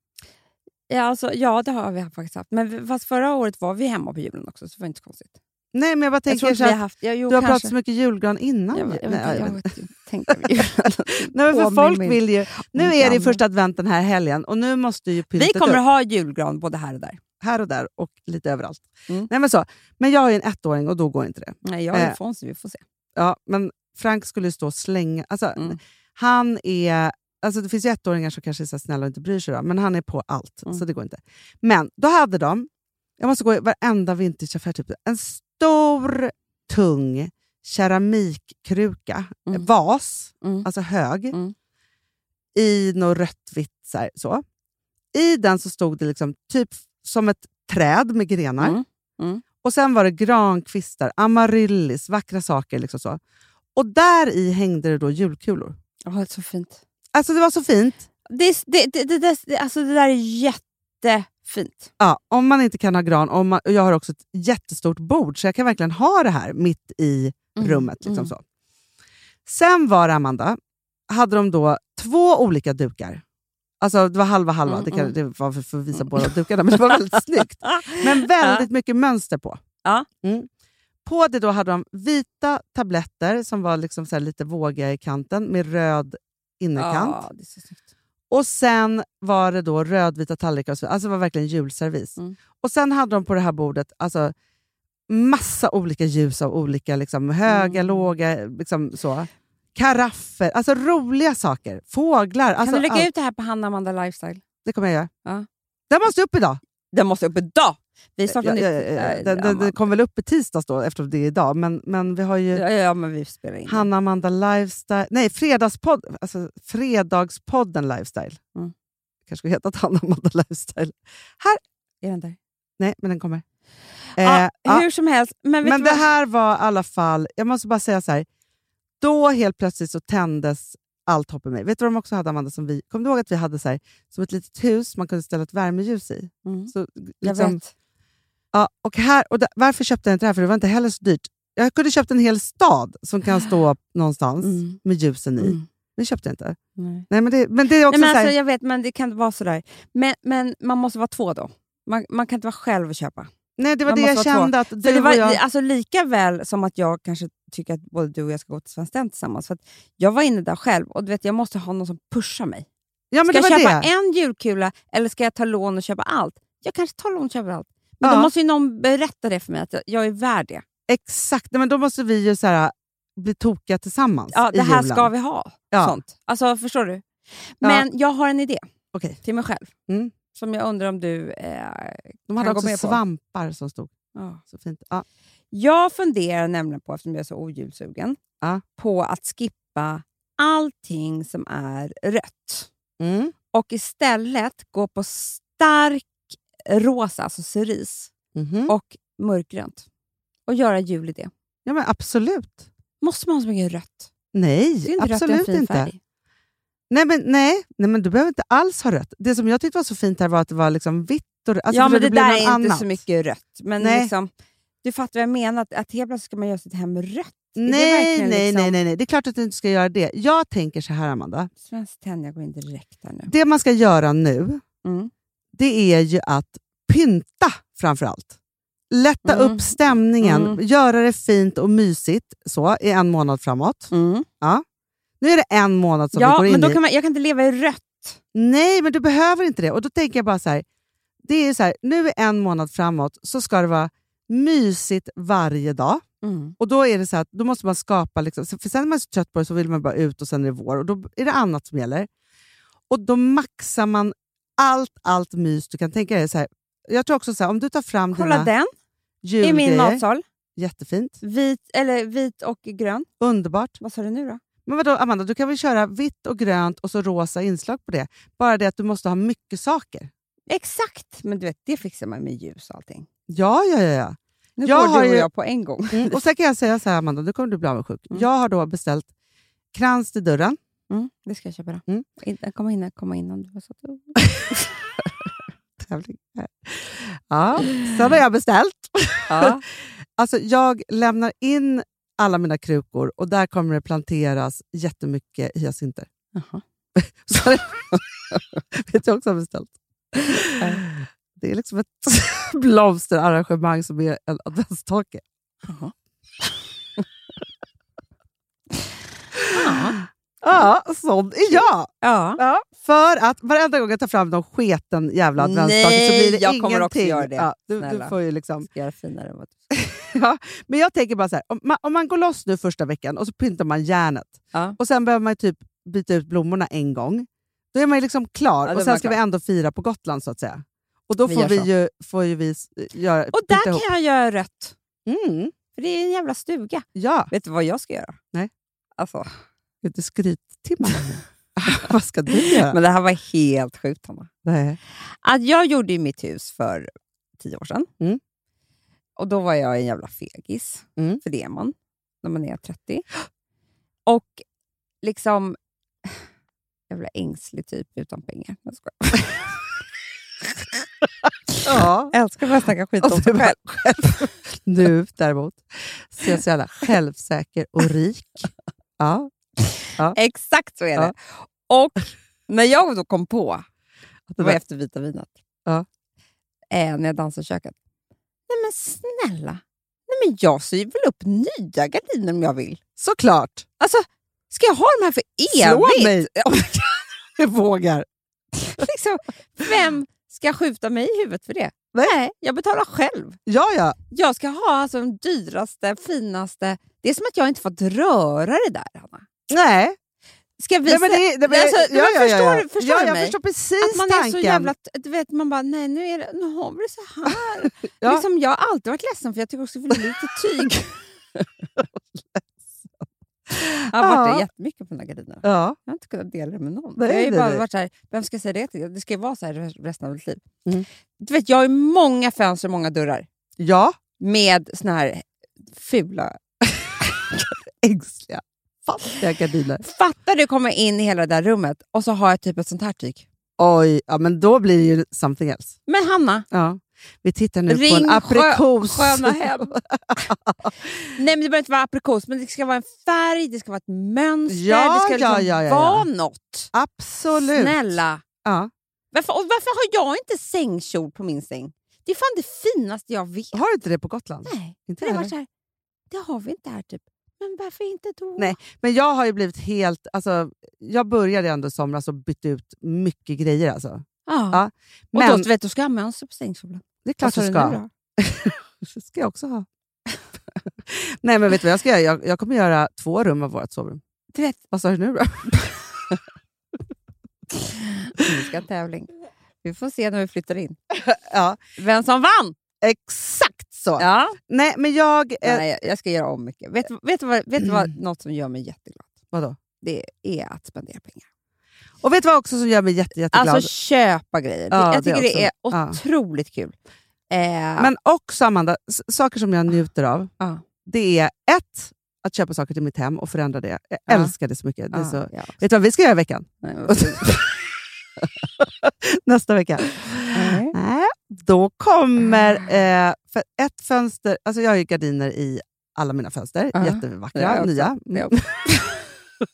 S3: Ja, alltså, ja, det har vi faktiskt haft. Men vi- fast förra året var vi hemma på julen också, så det var inte så konstigt.
S4: Nej, men jag bara
S3: Jag
S4: tänker
S3: tror inte
S4: så
S3: vi
S4: här,
S3: har haft... Ja, jo,
S4: du har
S3: kanske.
S4: pratat så mycket julgran innan.
S3: Jag,
S4: ju-
S3: vet- jag,
S4: Nej,
S3: vet-
S4: jag
S3: jag,
S4: vet.
S3: vet ju- tänkte vi.
S4: Nej, men för
S3: Åh,
S4: folk
S3: min-
S4: vill ju... Nu
S3: min
S4: är det ju
S3: gamla.
S4: första advent den här helgen och nu måste ju
S3: vi
S4: pyntet
S3: kommer
S4: upp
S3: ha julgran både här och där.
S4: här och där och lite överallt.
S3: Mm.
S4: Nej, men, så. men jag är ju en ettåring och då går inte det.
S3: Nej, jag
S4: Eh.
S3: är Alfons, vi får se.
S4: Ja, men Frank skulle ju stå och slänga... Alltså,
S3: Mm.
S4: Han är... Alltså det finns ju ettåringar som kanske är så här snälla och inte bryr sig, då, men han är på allt.
S3: Mm.
S4: Så det går inte. Men då hade de, jag måste gå i varenda vintageaffär, typ, en stor tung keramikkruka,
S3: Mm.
S4: vas,
S3: Mm.
S4: alltså hög,
S3: Mm.
S4: i något rött, vitt. Så här, så. I den så stod det liksom typ som ett träd med grenar.
S3: Mm. Mm.
S4: Och sen var det grankvistar, amaryllis, vackra saker. Liksom så. Och där i hängde det då julkulor.
S3: Åh, det är så fint.
S4: Alltså det var så fint.
S3: Det, är- det, det, det, det, det, alltså, det där är jättefint.
S4: Ja, om man inte kan ha gran, om man, och jag har också ett jättestort bord så jag kan verkligen ha det här mitt i
S3: Mm,
S4: rummet. Liksom
S3: mm.
S4: så. Sen var det, Amanda, hade de då två olika dukar. Alltså det var halva halva,
S3: Mm,
S4: det, kan,
S3: mm.
S4: det var för, för att visa båda dukarna, men det var väldigt snyggt.
S3: Ah!
S4: Men väldigt mycket mönster på.
S3: Ja.
S4: Mm. På det då hade de vita tabletter som var liksom så här lite vågiga i kanten med röd innerkant.
S3: Ja, Ah, det är så snyggt.
S4: Och sen var det då rödvita tallrikar. Och så, alltså det var verkligen julservis.
S3: Mm.
S4: Och sen hade de på det här bordet alltså, massa olika ljus av olika liksom, höga,
S3: Mm.
S4: låga, liksom, så. karaffer, alltså roliga saker. Fåglar. Alltså,
S3: kan du lägga
S4: allt.
S3: ut det här på Hanna Amanda Lifestyle?
S4: Det kommer jag göra.
S3: Ja.
S4: Den måste upp idag!
S3: Den måste upp idag! Vi
S4: Ja,
S3: startar
S4: ja, ja,
S3: nytt.
S4: ja.
S3: Eh,
S4: Den, den,
S3: Amanda.
S4: den kom väl upp i tisdags då, eftersom det är idag. Men, men vi har ju
S3: ja, ja, men vi spelar in.
S4: Hanna Amanda Lifestyle... Nej, fredagspodd, alltså, Fredagspodden Lifestyle.
S3: Mm.
S4: kanske skulle hetat Hanna Amanda Lifestyle.
S3: Är den där?
S4: Nej, men den kommer.
S3: Ja,
S4: Eh, ja.
S3: hur som helst, men vet
S4: Men
S3: du
S4: det
S3: vad?
S4: här var i alla fall, jag måste bara säga så här. Då helt plötsligt så tändes allt hopp i mig. Vet du vad de också hade Amanda? Som vi, kom du ihåg att vi hade så här, som ett litet hus man kunde ställa ett värmeljus i?
S3: Mm.
S4: Så,
S3: Jag
S4: liksom-
S3: vet.
S4: Ja, och här, och där, varför köpte jag inte det här? För det var inte heller så dyrt. Jag kunde köpt en hel stad som kan stå någonstans
S3: Mm.
S4: med ljusen i.
S3: Mm.
S4: Men köpte jag inte.
S3: Nej.
S4: Nej, men, det, men det är också
S3: Nej, men
S4: så här,
S3: alltså, jag vet, men det kan vara sådär. Men, men man måste vara två då. Man, man kan inte vara själv och köpa.
S4: nej, det var
S3: man
S4: det jag
S3: måste vara två.
S4: kände. Att
S3: För
S4: du
S3: det var,
S4: och jag,
S3: alltså, lika väl som att jag kanske tycker att både du och jag ska gå till Svenskt Tenn tillsammans. För att jag var inne där själv och du vet, jag måste ha någon som pushar mig.
S4: ja, men
S3: Ska
S4: det var
S3: jag köpa
S4: det.
S3: en julkula eller ska jag ta lån och köpa allt? Jag kanske tar lån och köper allt. Men
S4: Ja.
S3: då måste ju någon berätta det för mig, att jag, jag är värd det.
S4: Exakt, nej, men då måste vi ju så här, äh, bli tokiga tillsammans
S3: Ja,
S4: i
S3: det här
S4: julen.
S3: ska vi ha.
S4: Ja.
S3: Sånt. Alltså, förstår du? Men jag har en idé
S4: Okej.
S3: till mig själv.
S4: Mm.
S3: Som jag undrar om du eh,
S4: De hade
S3: Kan gå med
S4: också
S3: på.
S4: svampar som stod.
S3: Ja.
S4: Så fint. Ja.
S3: Jag funderar nämligen på, eftersom jag är så ojulsugen,
S4: Ja.
S3: på att skippa allting som är rött.
S4: Mm.
S3: och istället gå på stark rosa, alltså ceris,
S4: Mhm.
S3: och mörkgrönt. Och göra jul i det.
S4: Ja, men absolut.
S3: Måste man ha så mycket rött?
S4: Nej,
S3: Det är inte
S4: absolut
S3: rött en fin
S4: inte.
S3: färg.
S4: Nej men, nej, nej, men du behöver inte alls ha rött. Det som jag tyckte var så fint här var att det var liksom vitt och alltså,
S3: ja,
S4: förstår
S3: men
S4: du,
S3: det
S4: blev
S3: där är
S4: något
S3: inte
S4: annat.
S3: så mycket rött. Men
S4: Nej.
S3: liksom, du fattar vad jag menar, att, att helt plötsligt ska man göra sitt hem rött. det
S4: Nej,
S3: verkligen
S4: nej,
S3: liksom-
S4: nej, nej, nej. Det är klart att du inte ska göra det. Jag tänker så här, Amanda.
S3: Svenskt Tenn, jag går in direkt här nu.
S4: Det man ska göra nu,
S3: Mm.
S4: det är ju att pynta framför allt. Lätta
S3: Mm.
S4: upp stämningen,
S3: Mm.
S4: göra det fint och mysigt så i en månad framåt. Nu är det en månad som Mm, vi
S3: Mm. Ja,
S4: går in
S3: men då
S4: i.
S3: kan man, jag kan inte leva i rött.
S4: Nej, men du behöver inte det. Och då tänker jag bara så här, det är så här, nu är en månad framåt så ska det vara mysigt varje dag. Och då är det så här, att då måste man skapa, liksom, för sen är man så trött på det så vill man bara ut och sen är det vår och då är det annat som gäller. Och då maxar man allt, allt mys du kan tänka dig. Så här, jag tror också så här, om du tar fram
S3: Kolla
S4: dina
S3: den, i min
S4: julgrejer,
S3: matsal.
S4: jättefint,
S3: Vit, eller vit och grön.
S4: underbart.
S3: Vad sa du nu då?
S4: Men vadå Amanda, du kan väl köra vitt och grönt och så rosa inslag på det? Bara det att du måste ha mycket saker.
S3: Exakt! Men du vet, det fixar man med ljus och allting.
S4: Ja, ja, ja. ja.
S3: Nu
S4: Jag
S3: går
S4: har
S3: du och
S4: ju-
S3: jag på en gång.
S4: Mm. Och sen kan jag säga så här, Amanda, nu kommer du bli avundsjuk.
S3: Mm.
S4: Jag har då beställt krans till dörren.
S3: Det ska jag köpa då.
S4: Mm.
S3: In, komma innan, komma innan du har satt upp.
S4: Tävling. Ja, sen har jag beställt.
S3: Ja.
S4: Alltså, jag lämnar in alla mina krukor och där kommer det planteras jättemycket hyacinter.
S3: Jaha.
S4: Så vet jag också har beställt. Det är liksom ett blomsterarrangemang som är en adventstake. Ja, sån är jag.
S3: ja.
S4: Ja, för att varenda gång jag tar fram någon sketen jävla
S3: Nej,
S4: adventsstake så blir det
S3: jag
S4: ingenting.
S3: kommer också göra det.
S4: Ja, du, du
S3: Snälla.
S4: får ju liksom.
S3: Ska göra finare än vad du
S4: Men jag tänker bara så här, om man, om man går loss nu första veckan och så pyntar man järnet
S3: Ja.
S4: och sen behöver man ju typ byta ut blommorna en gång. Då är man ju liksom klar
S3: Ja, då
S4: och
S3: är
S4: sen
S3: man
S4: ska
S3: klar.
S4: vi ändå fira på Gotland så att säga. Och då
S3: Vi
S4: får,
S3: gör
S4: vi
S3: så.
S4: ju, får ju vi s- eh, göra...
S3: Och där kan jag göra rött.
S4: jag... Mm,
S3: För det är en jävla stuga.
S4: ja,
S3: Vet du vad jag ska göra?
S4: Nej.
S3: Alltså.
S4: lite skryttimmar. Vad ska du göra?
S3: Men det här var helt sjukt, Hanna.
S4: Nej.
S3: Att jag gjorde ju mitt hus för tio år sedan.
S4: Mm.
S3: Och då var jag en jävla fegis,
S4: Mm.
S3: för det är man när man är 30. Och liksom... Jävla ängslig typ utan pengar. Jag skojar.
S4: Ja.
S3: Jag älskar att snacka skit
S4: Och
S3: om
S4: du
S3: sig
S4: bara-
S3: själv.
S4: Nu däremot så är jag så jävla självsäker och rik. Ja.
S3: Exakt så är det. Och när jag då kom på, det var efter vita vinet,
S4: Ja.
S3: eh, när jag dansade i köket. Nej men snälla, Nej, men jag syr väl upp nya gardiner om jag vill.
S4: Såklart!
S3: Alltså, ska jag ha de här för
S4: Slå
S3: evigt?
S4: mig! Jag vågar.
S3: liksom, vem ska skjuta mig i huvudet för det?
S4: Nej.
S3: jag betalar själv.
S4: Ja, ja.
S3: Jag ska ha alltså, de dyraste, finaste... Det är som att jag inte fått röra det där, Hanna.
S4: Nej.
S3: Ska vi
S4: nej, men
S3: sä-
S4: det, nej, men,
S3: Alltså,
S4: ja,
S3: men
S4: ja, ja,
S3: förstår
S4: ja.
S3: du- förstår
S4: ja,
S3: du
S4: jag
S3: mig?
S4: förstår precis
S3: Att man
S4: tanken.
S3: är så jävla... t- Du vet, man bara, nej nu, är det, nu har vi det så här.
S4: Ja.
S3: liksom, jag har alltid varit ledsen för jag tycker också för lite tyg. jag har varit
S4: Ja.
S3: det jättemycket på den här gardinerna.
S4: Ja.
S3: Jag har inte kunnat dela det med någon.
S4: Nej,
S3: jag har ju
S4: nej,
S3: bara
S4: nej.
S3: varit så här, vem ska jag säga det till? Det ska ju vara så här resten av mitt liv.
S4: Mm.
S3: Du vet, jag har ju många fönster och många dörrar
S4: ja,
S3: med såna här fula...
S4: ängsliga. Fattiga gardiner.
S3: Fattar du komma in i hela det där rummet och så har jag typ ett sånt här tyg.
S4: Oj, ja, men då blir det ju something else.
S3: Men Hanna,
S4: Ja. Vi tittar nu på
S3: Ring
S4: en
S3: Sjö-
S4: aprikos.
S3: sköna hem. Nej, men det behöver inte vara aprikos, men det ska vara en färg, det ska vara ett mönster,
S4: Ja,
S3: det ska
S4: ja,
S3: liksom
S4: ja, ja, ja.
S3: vara något.
S4: Absolut.
S3: Snälla.
S4: Ja.
S3: Varför, och varför har jag inte sängkjol på min säng? Det är fan det finaste jag vet.
S4: Har du inte det på Gotland?
S3: Nej,
S4: Inte
S3: för det
S4: jag
S3: var
S4: heller.
S3: så här, det har vi inte här typ. Men varför inte då?
S4: Nej, Men jag har ju blivit helt... Alltså, jag började ändå i somras och bytte ut mycket grejer. Alltså.
S3: Ja.
S4: Ja,
S3: Men, och
S4: Men
S3: då, vet, du, då ska jag ha mönster på sängkjolen.
S4: det är
S3: Vad
S4: klart
S3: sa
S4: du
S3: du nu
S4: ska.
S3: då?
S4: Det ska jag också ha. Nej, men vet du vad jag ska göra? Jag, jag kommer göra två rum av vårt sovrum.
S3: Du vet,
S4: Vad sa du nu då?
S3: vi ska ha tävling. Vi får se när vi flyttar in.
S4: Ja,
S3: Vem som vann!
S4: exakt så.
S3: Ja.
S4: Nej, men jag... Eh,
S3: Nej, jag- jag ska göra om mycket. Vet, du- vet, du vad, vet du vad något som gör mig jätteglad?
S4: Vadå?
S3: Det är att spendera pengar.
S4: Och vet du vad också som gör mig jätte, jätteglad?
S3: Alltså köpa grejer. Det-
S4: Ja,
S3: jag
S4: det
S3: tycker det, är
S4: också. Ja.
S3: otroligt kul. Eh,
S4: Men också Amanda, s- saker som
S3: Ah.
S4: jag njuter av,
S3: Ja.
S4: det är ett, att köpa saker till mitt hem och förändra det. Jag
S3: Ja.
S4: älskar det så mycket. Det är
S3: ja,
S4: så...
S3: ja.
S4: Vet du vad vi ska göra i veckan?
S3: Nej, vad kul.
S4: Nästa vecka.
S3: Nej.
S4: Nej, då kommer eh, för ett fönster... Alltså jag har ju gardiner i alla mina fönster.
S3: Ja.
S4: Jättevackra,
S3: Ja, jag också.
S4: nya.
S3: Ja.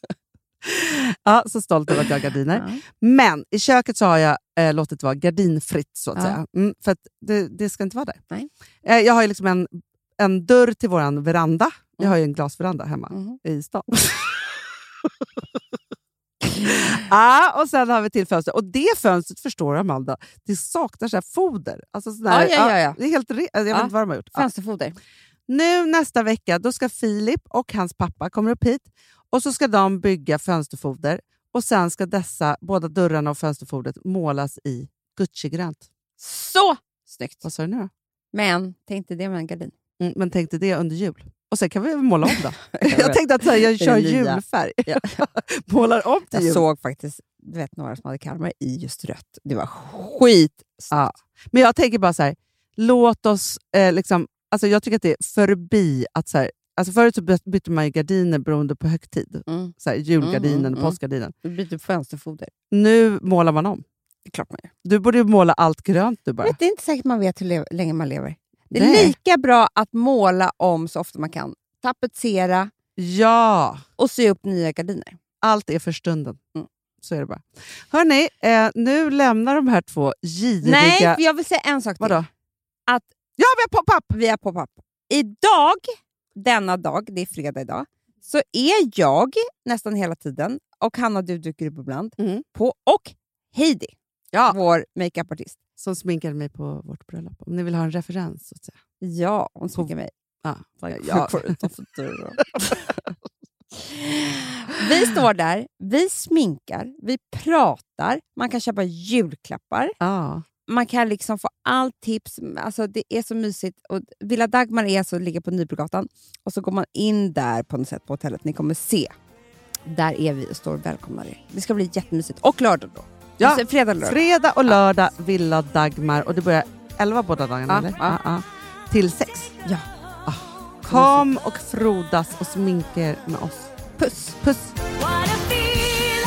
S4: ja, så stolt över att jag har gardiner.
S3: Ja.
S4: Men i köket så har jag eh, låtit det vara gardinfritt, så att
S3: Ja.
S4: säga. Mm, för att det, det ska inte vara där.
S3: Nej.
S4: Eh, jag har ju liksom en, en dörr till vår veranda.
S3: Mm.
S4: Jag har ju en glasveranda hemma
S3: Mhm.
S4: i stan. ah, och sen har vi till fönster. Och det fönstret, förstår du Amanda, det saknar så här foder. Alltså sån här,
S3: Ja, ja, ja, ja.
S4: Det är helt re- alltså, jag vet
S3: Ja.
S4: inte vad de har gjort. Ja.
S3: Fönsterfoder.
S4: Nu nästa vecka då ska Filip och hans pappa komma upp hit och så ska de bygga fönsterfoder och sen ska dessa båda dörrarna och fönsterfodret målas i Gucci-grönt.
S3: Så snyggt!
S4: Vad sa du nu då?
S3: Men tänkte det med en gardin.
S4: Mm, men tänkte det under jul. Och sen kan vi väl måla om då.
S3: Jag
S4: jag
S3: vet.
S4: tänkte att så här, jag
S3: Det är
S4: kör
S3: nya.
S4: julfärg.
S3: Ja.
S4: Målar om till
S3: Jag
S4: jul.
S3: såg faktiskt du vet, några som hade karmar i just rött. Det var skit.
S4: Ja. Men jag tänker bara så här, låt oss... Eh, liksom, alltså jag tycker att det är förbi att... Så här, alltså förut så by- bytte man ju gardiner beroende på högtid.
S3: Mm.
S4: Så här, julgardinen
S3: Mm, mm,
S4: och påskgardinen.
S3: Du byter fönsterfoder.
S4: Nu målar man om.
S3: Det är klart man gör.
S4: Du borde ju måla allt grönt du bara.
S3: Vet, det är inte säkert man vet hur le- länge man lever. Det är
S4: Nej.
S3: lika bra att måla om så ofta man kan. Tapetsera
S4: Ja,
S3: och sy upp nya gardiner.
S4: allt är för stunden.
S3: Mm.
S4: Så är det bara. Hörni, eh, nu lämnar de här två giriga...
S3: Nej, för jag vill säga en sak till.
S4: Vadå?
S3: Att
S4: Ja, vi har pop-up!
S3: via pop-up. Idag, denna dag, det är fredag idag, så är jag nästan hela tiden, och Hanna du dyker upp ibland,
S4: Mm.
S3: på, och Heidi,
S4: Ja.
S3: vår makeupartist.
S4: Som sminkade mig på vårt bröllop. Om ni vill ha en referens. Så att säga.
S3: Ja, hon sminkar mig.
S4: Ja,
S3: Jag går utanför dörren. vi står där, vi sminkar, vi pratar, man kan köpa julklappar,
S4: ja.
S3: man kan liksom få allt tips. Alltså det är så mysigt. Och Villa Dagmar är alltså, ligger på Nybrogatan och så går man in där på något sätt på hotellet. Ni kommer se. Där är vi och står och välkomnar er. Det ska bli jättemysigt. Och lördag då.
S4: Ja,
S3: Alltså, Fredag och lördag.
S4: Fredag och lördag, Villa Dagmar. Och det börjar 11 båda dagarna,
S3: Ja,
S4: eller?
S3: ja.
S4: Till sex.
S3: Ja.
S4: Ah. Kom och frodas och sminka er med oss.
S3: Puss!
S4: Puss!
S5: What a feeling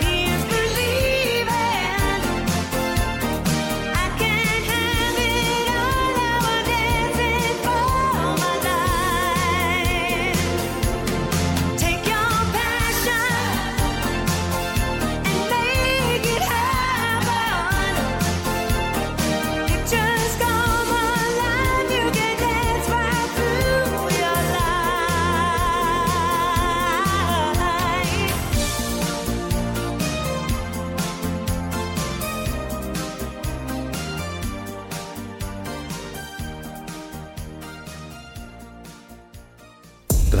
S5: is believing. I can't have it all. Now I'm dancing for my life. Take your passion and make it happen. You just come alive. You can dance right through your life.
S6: Den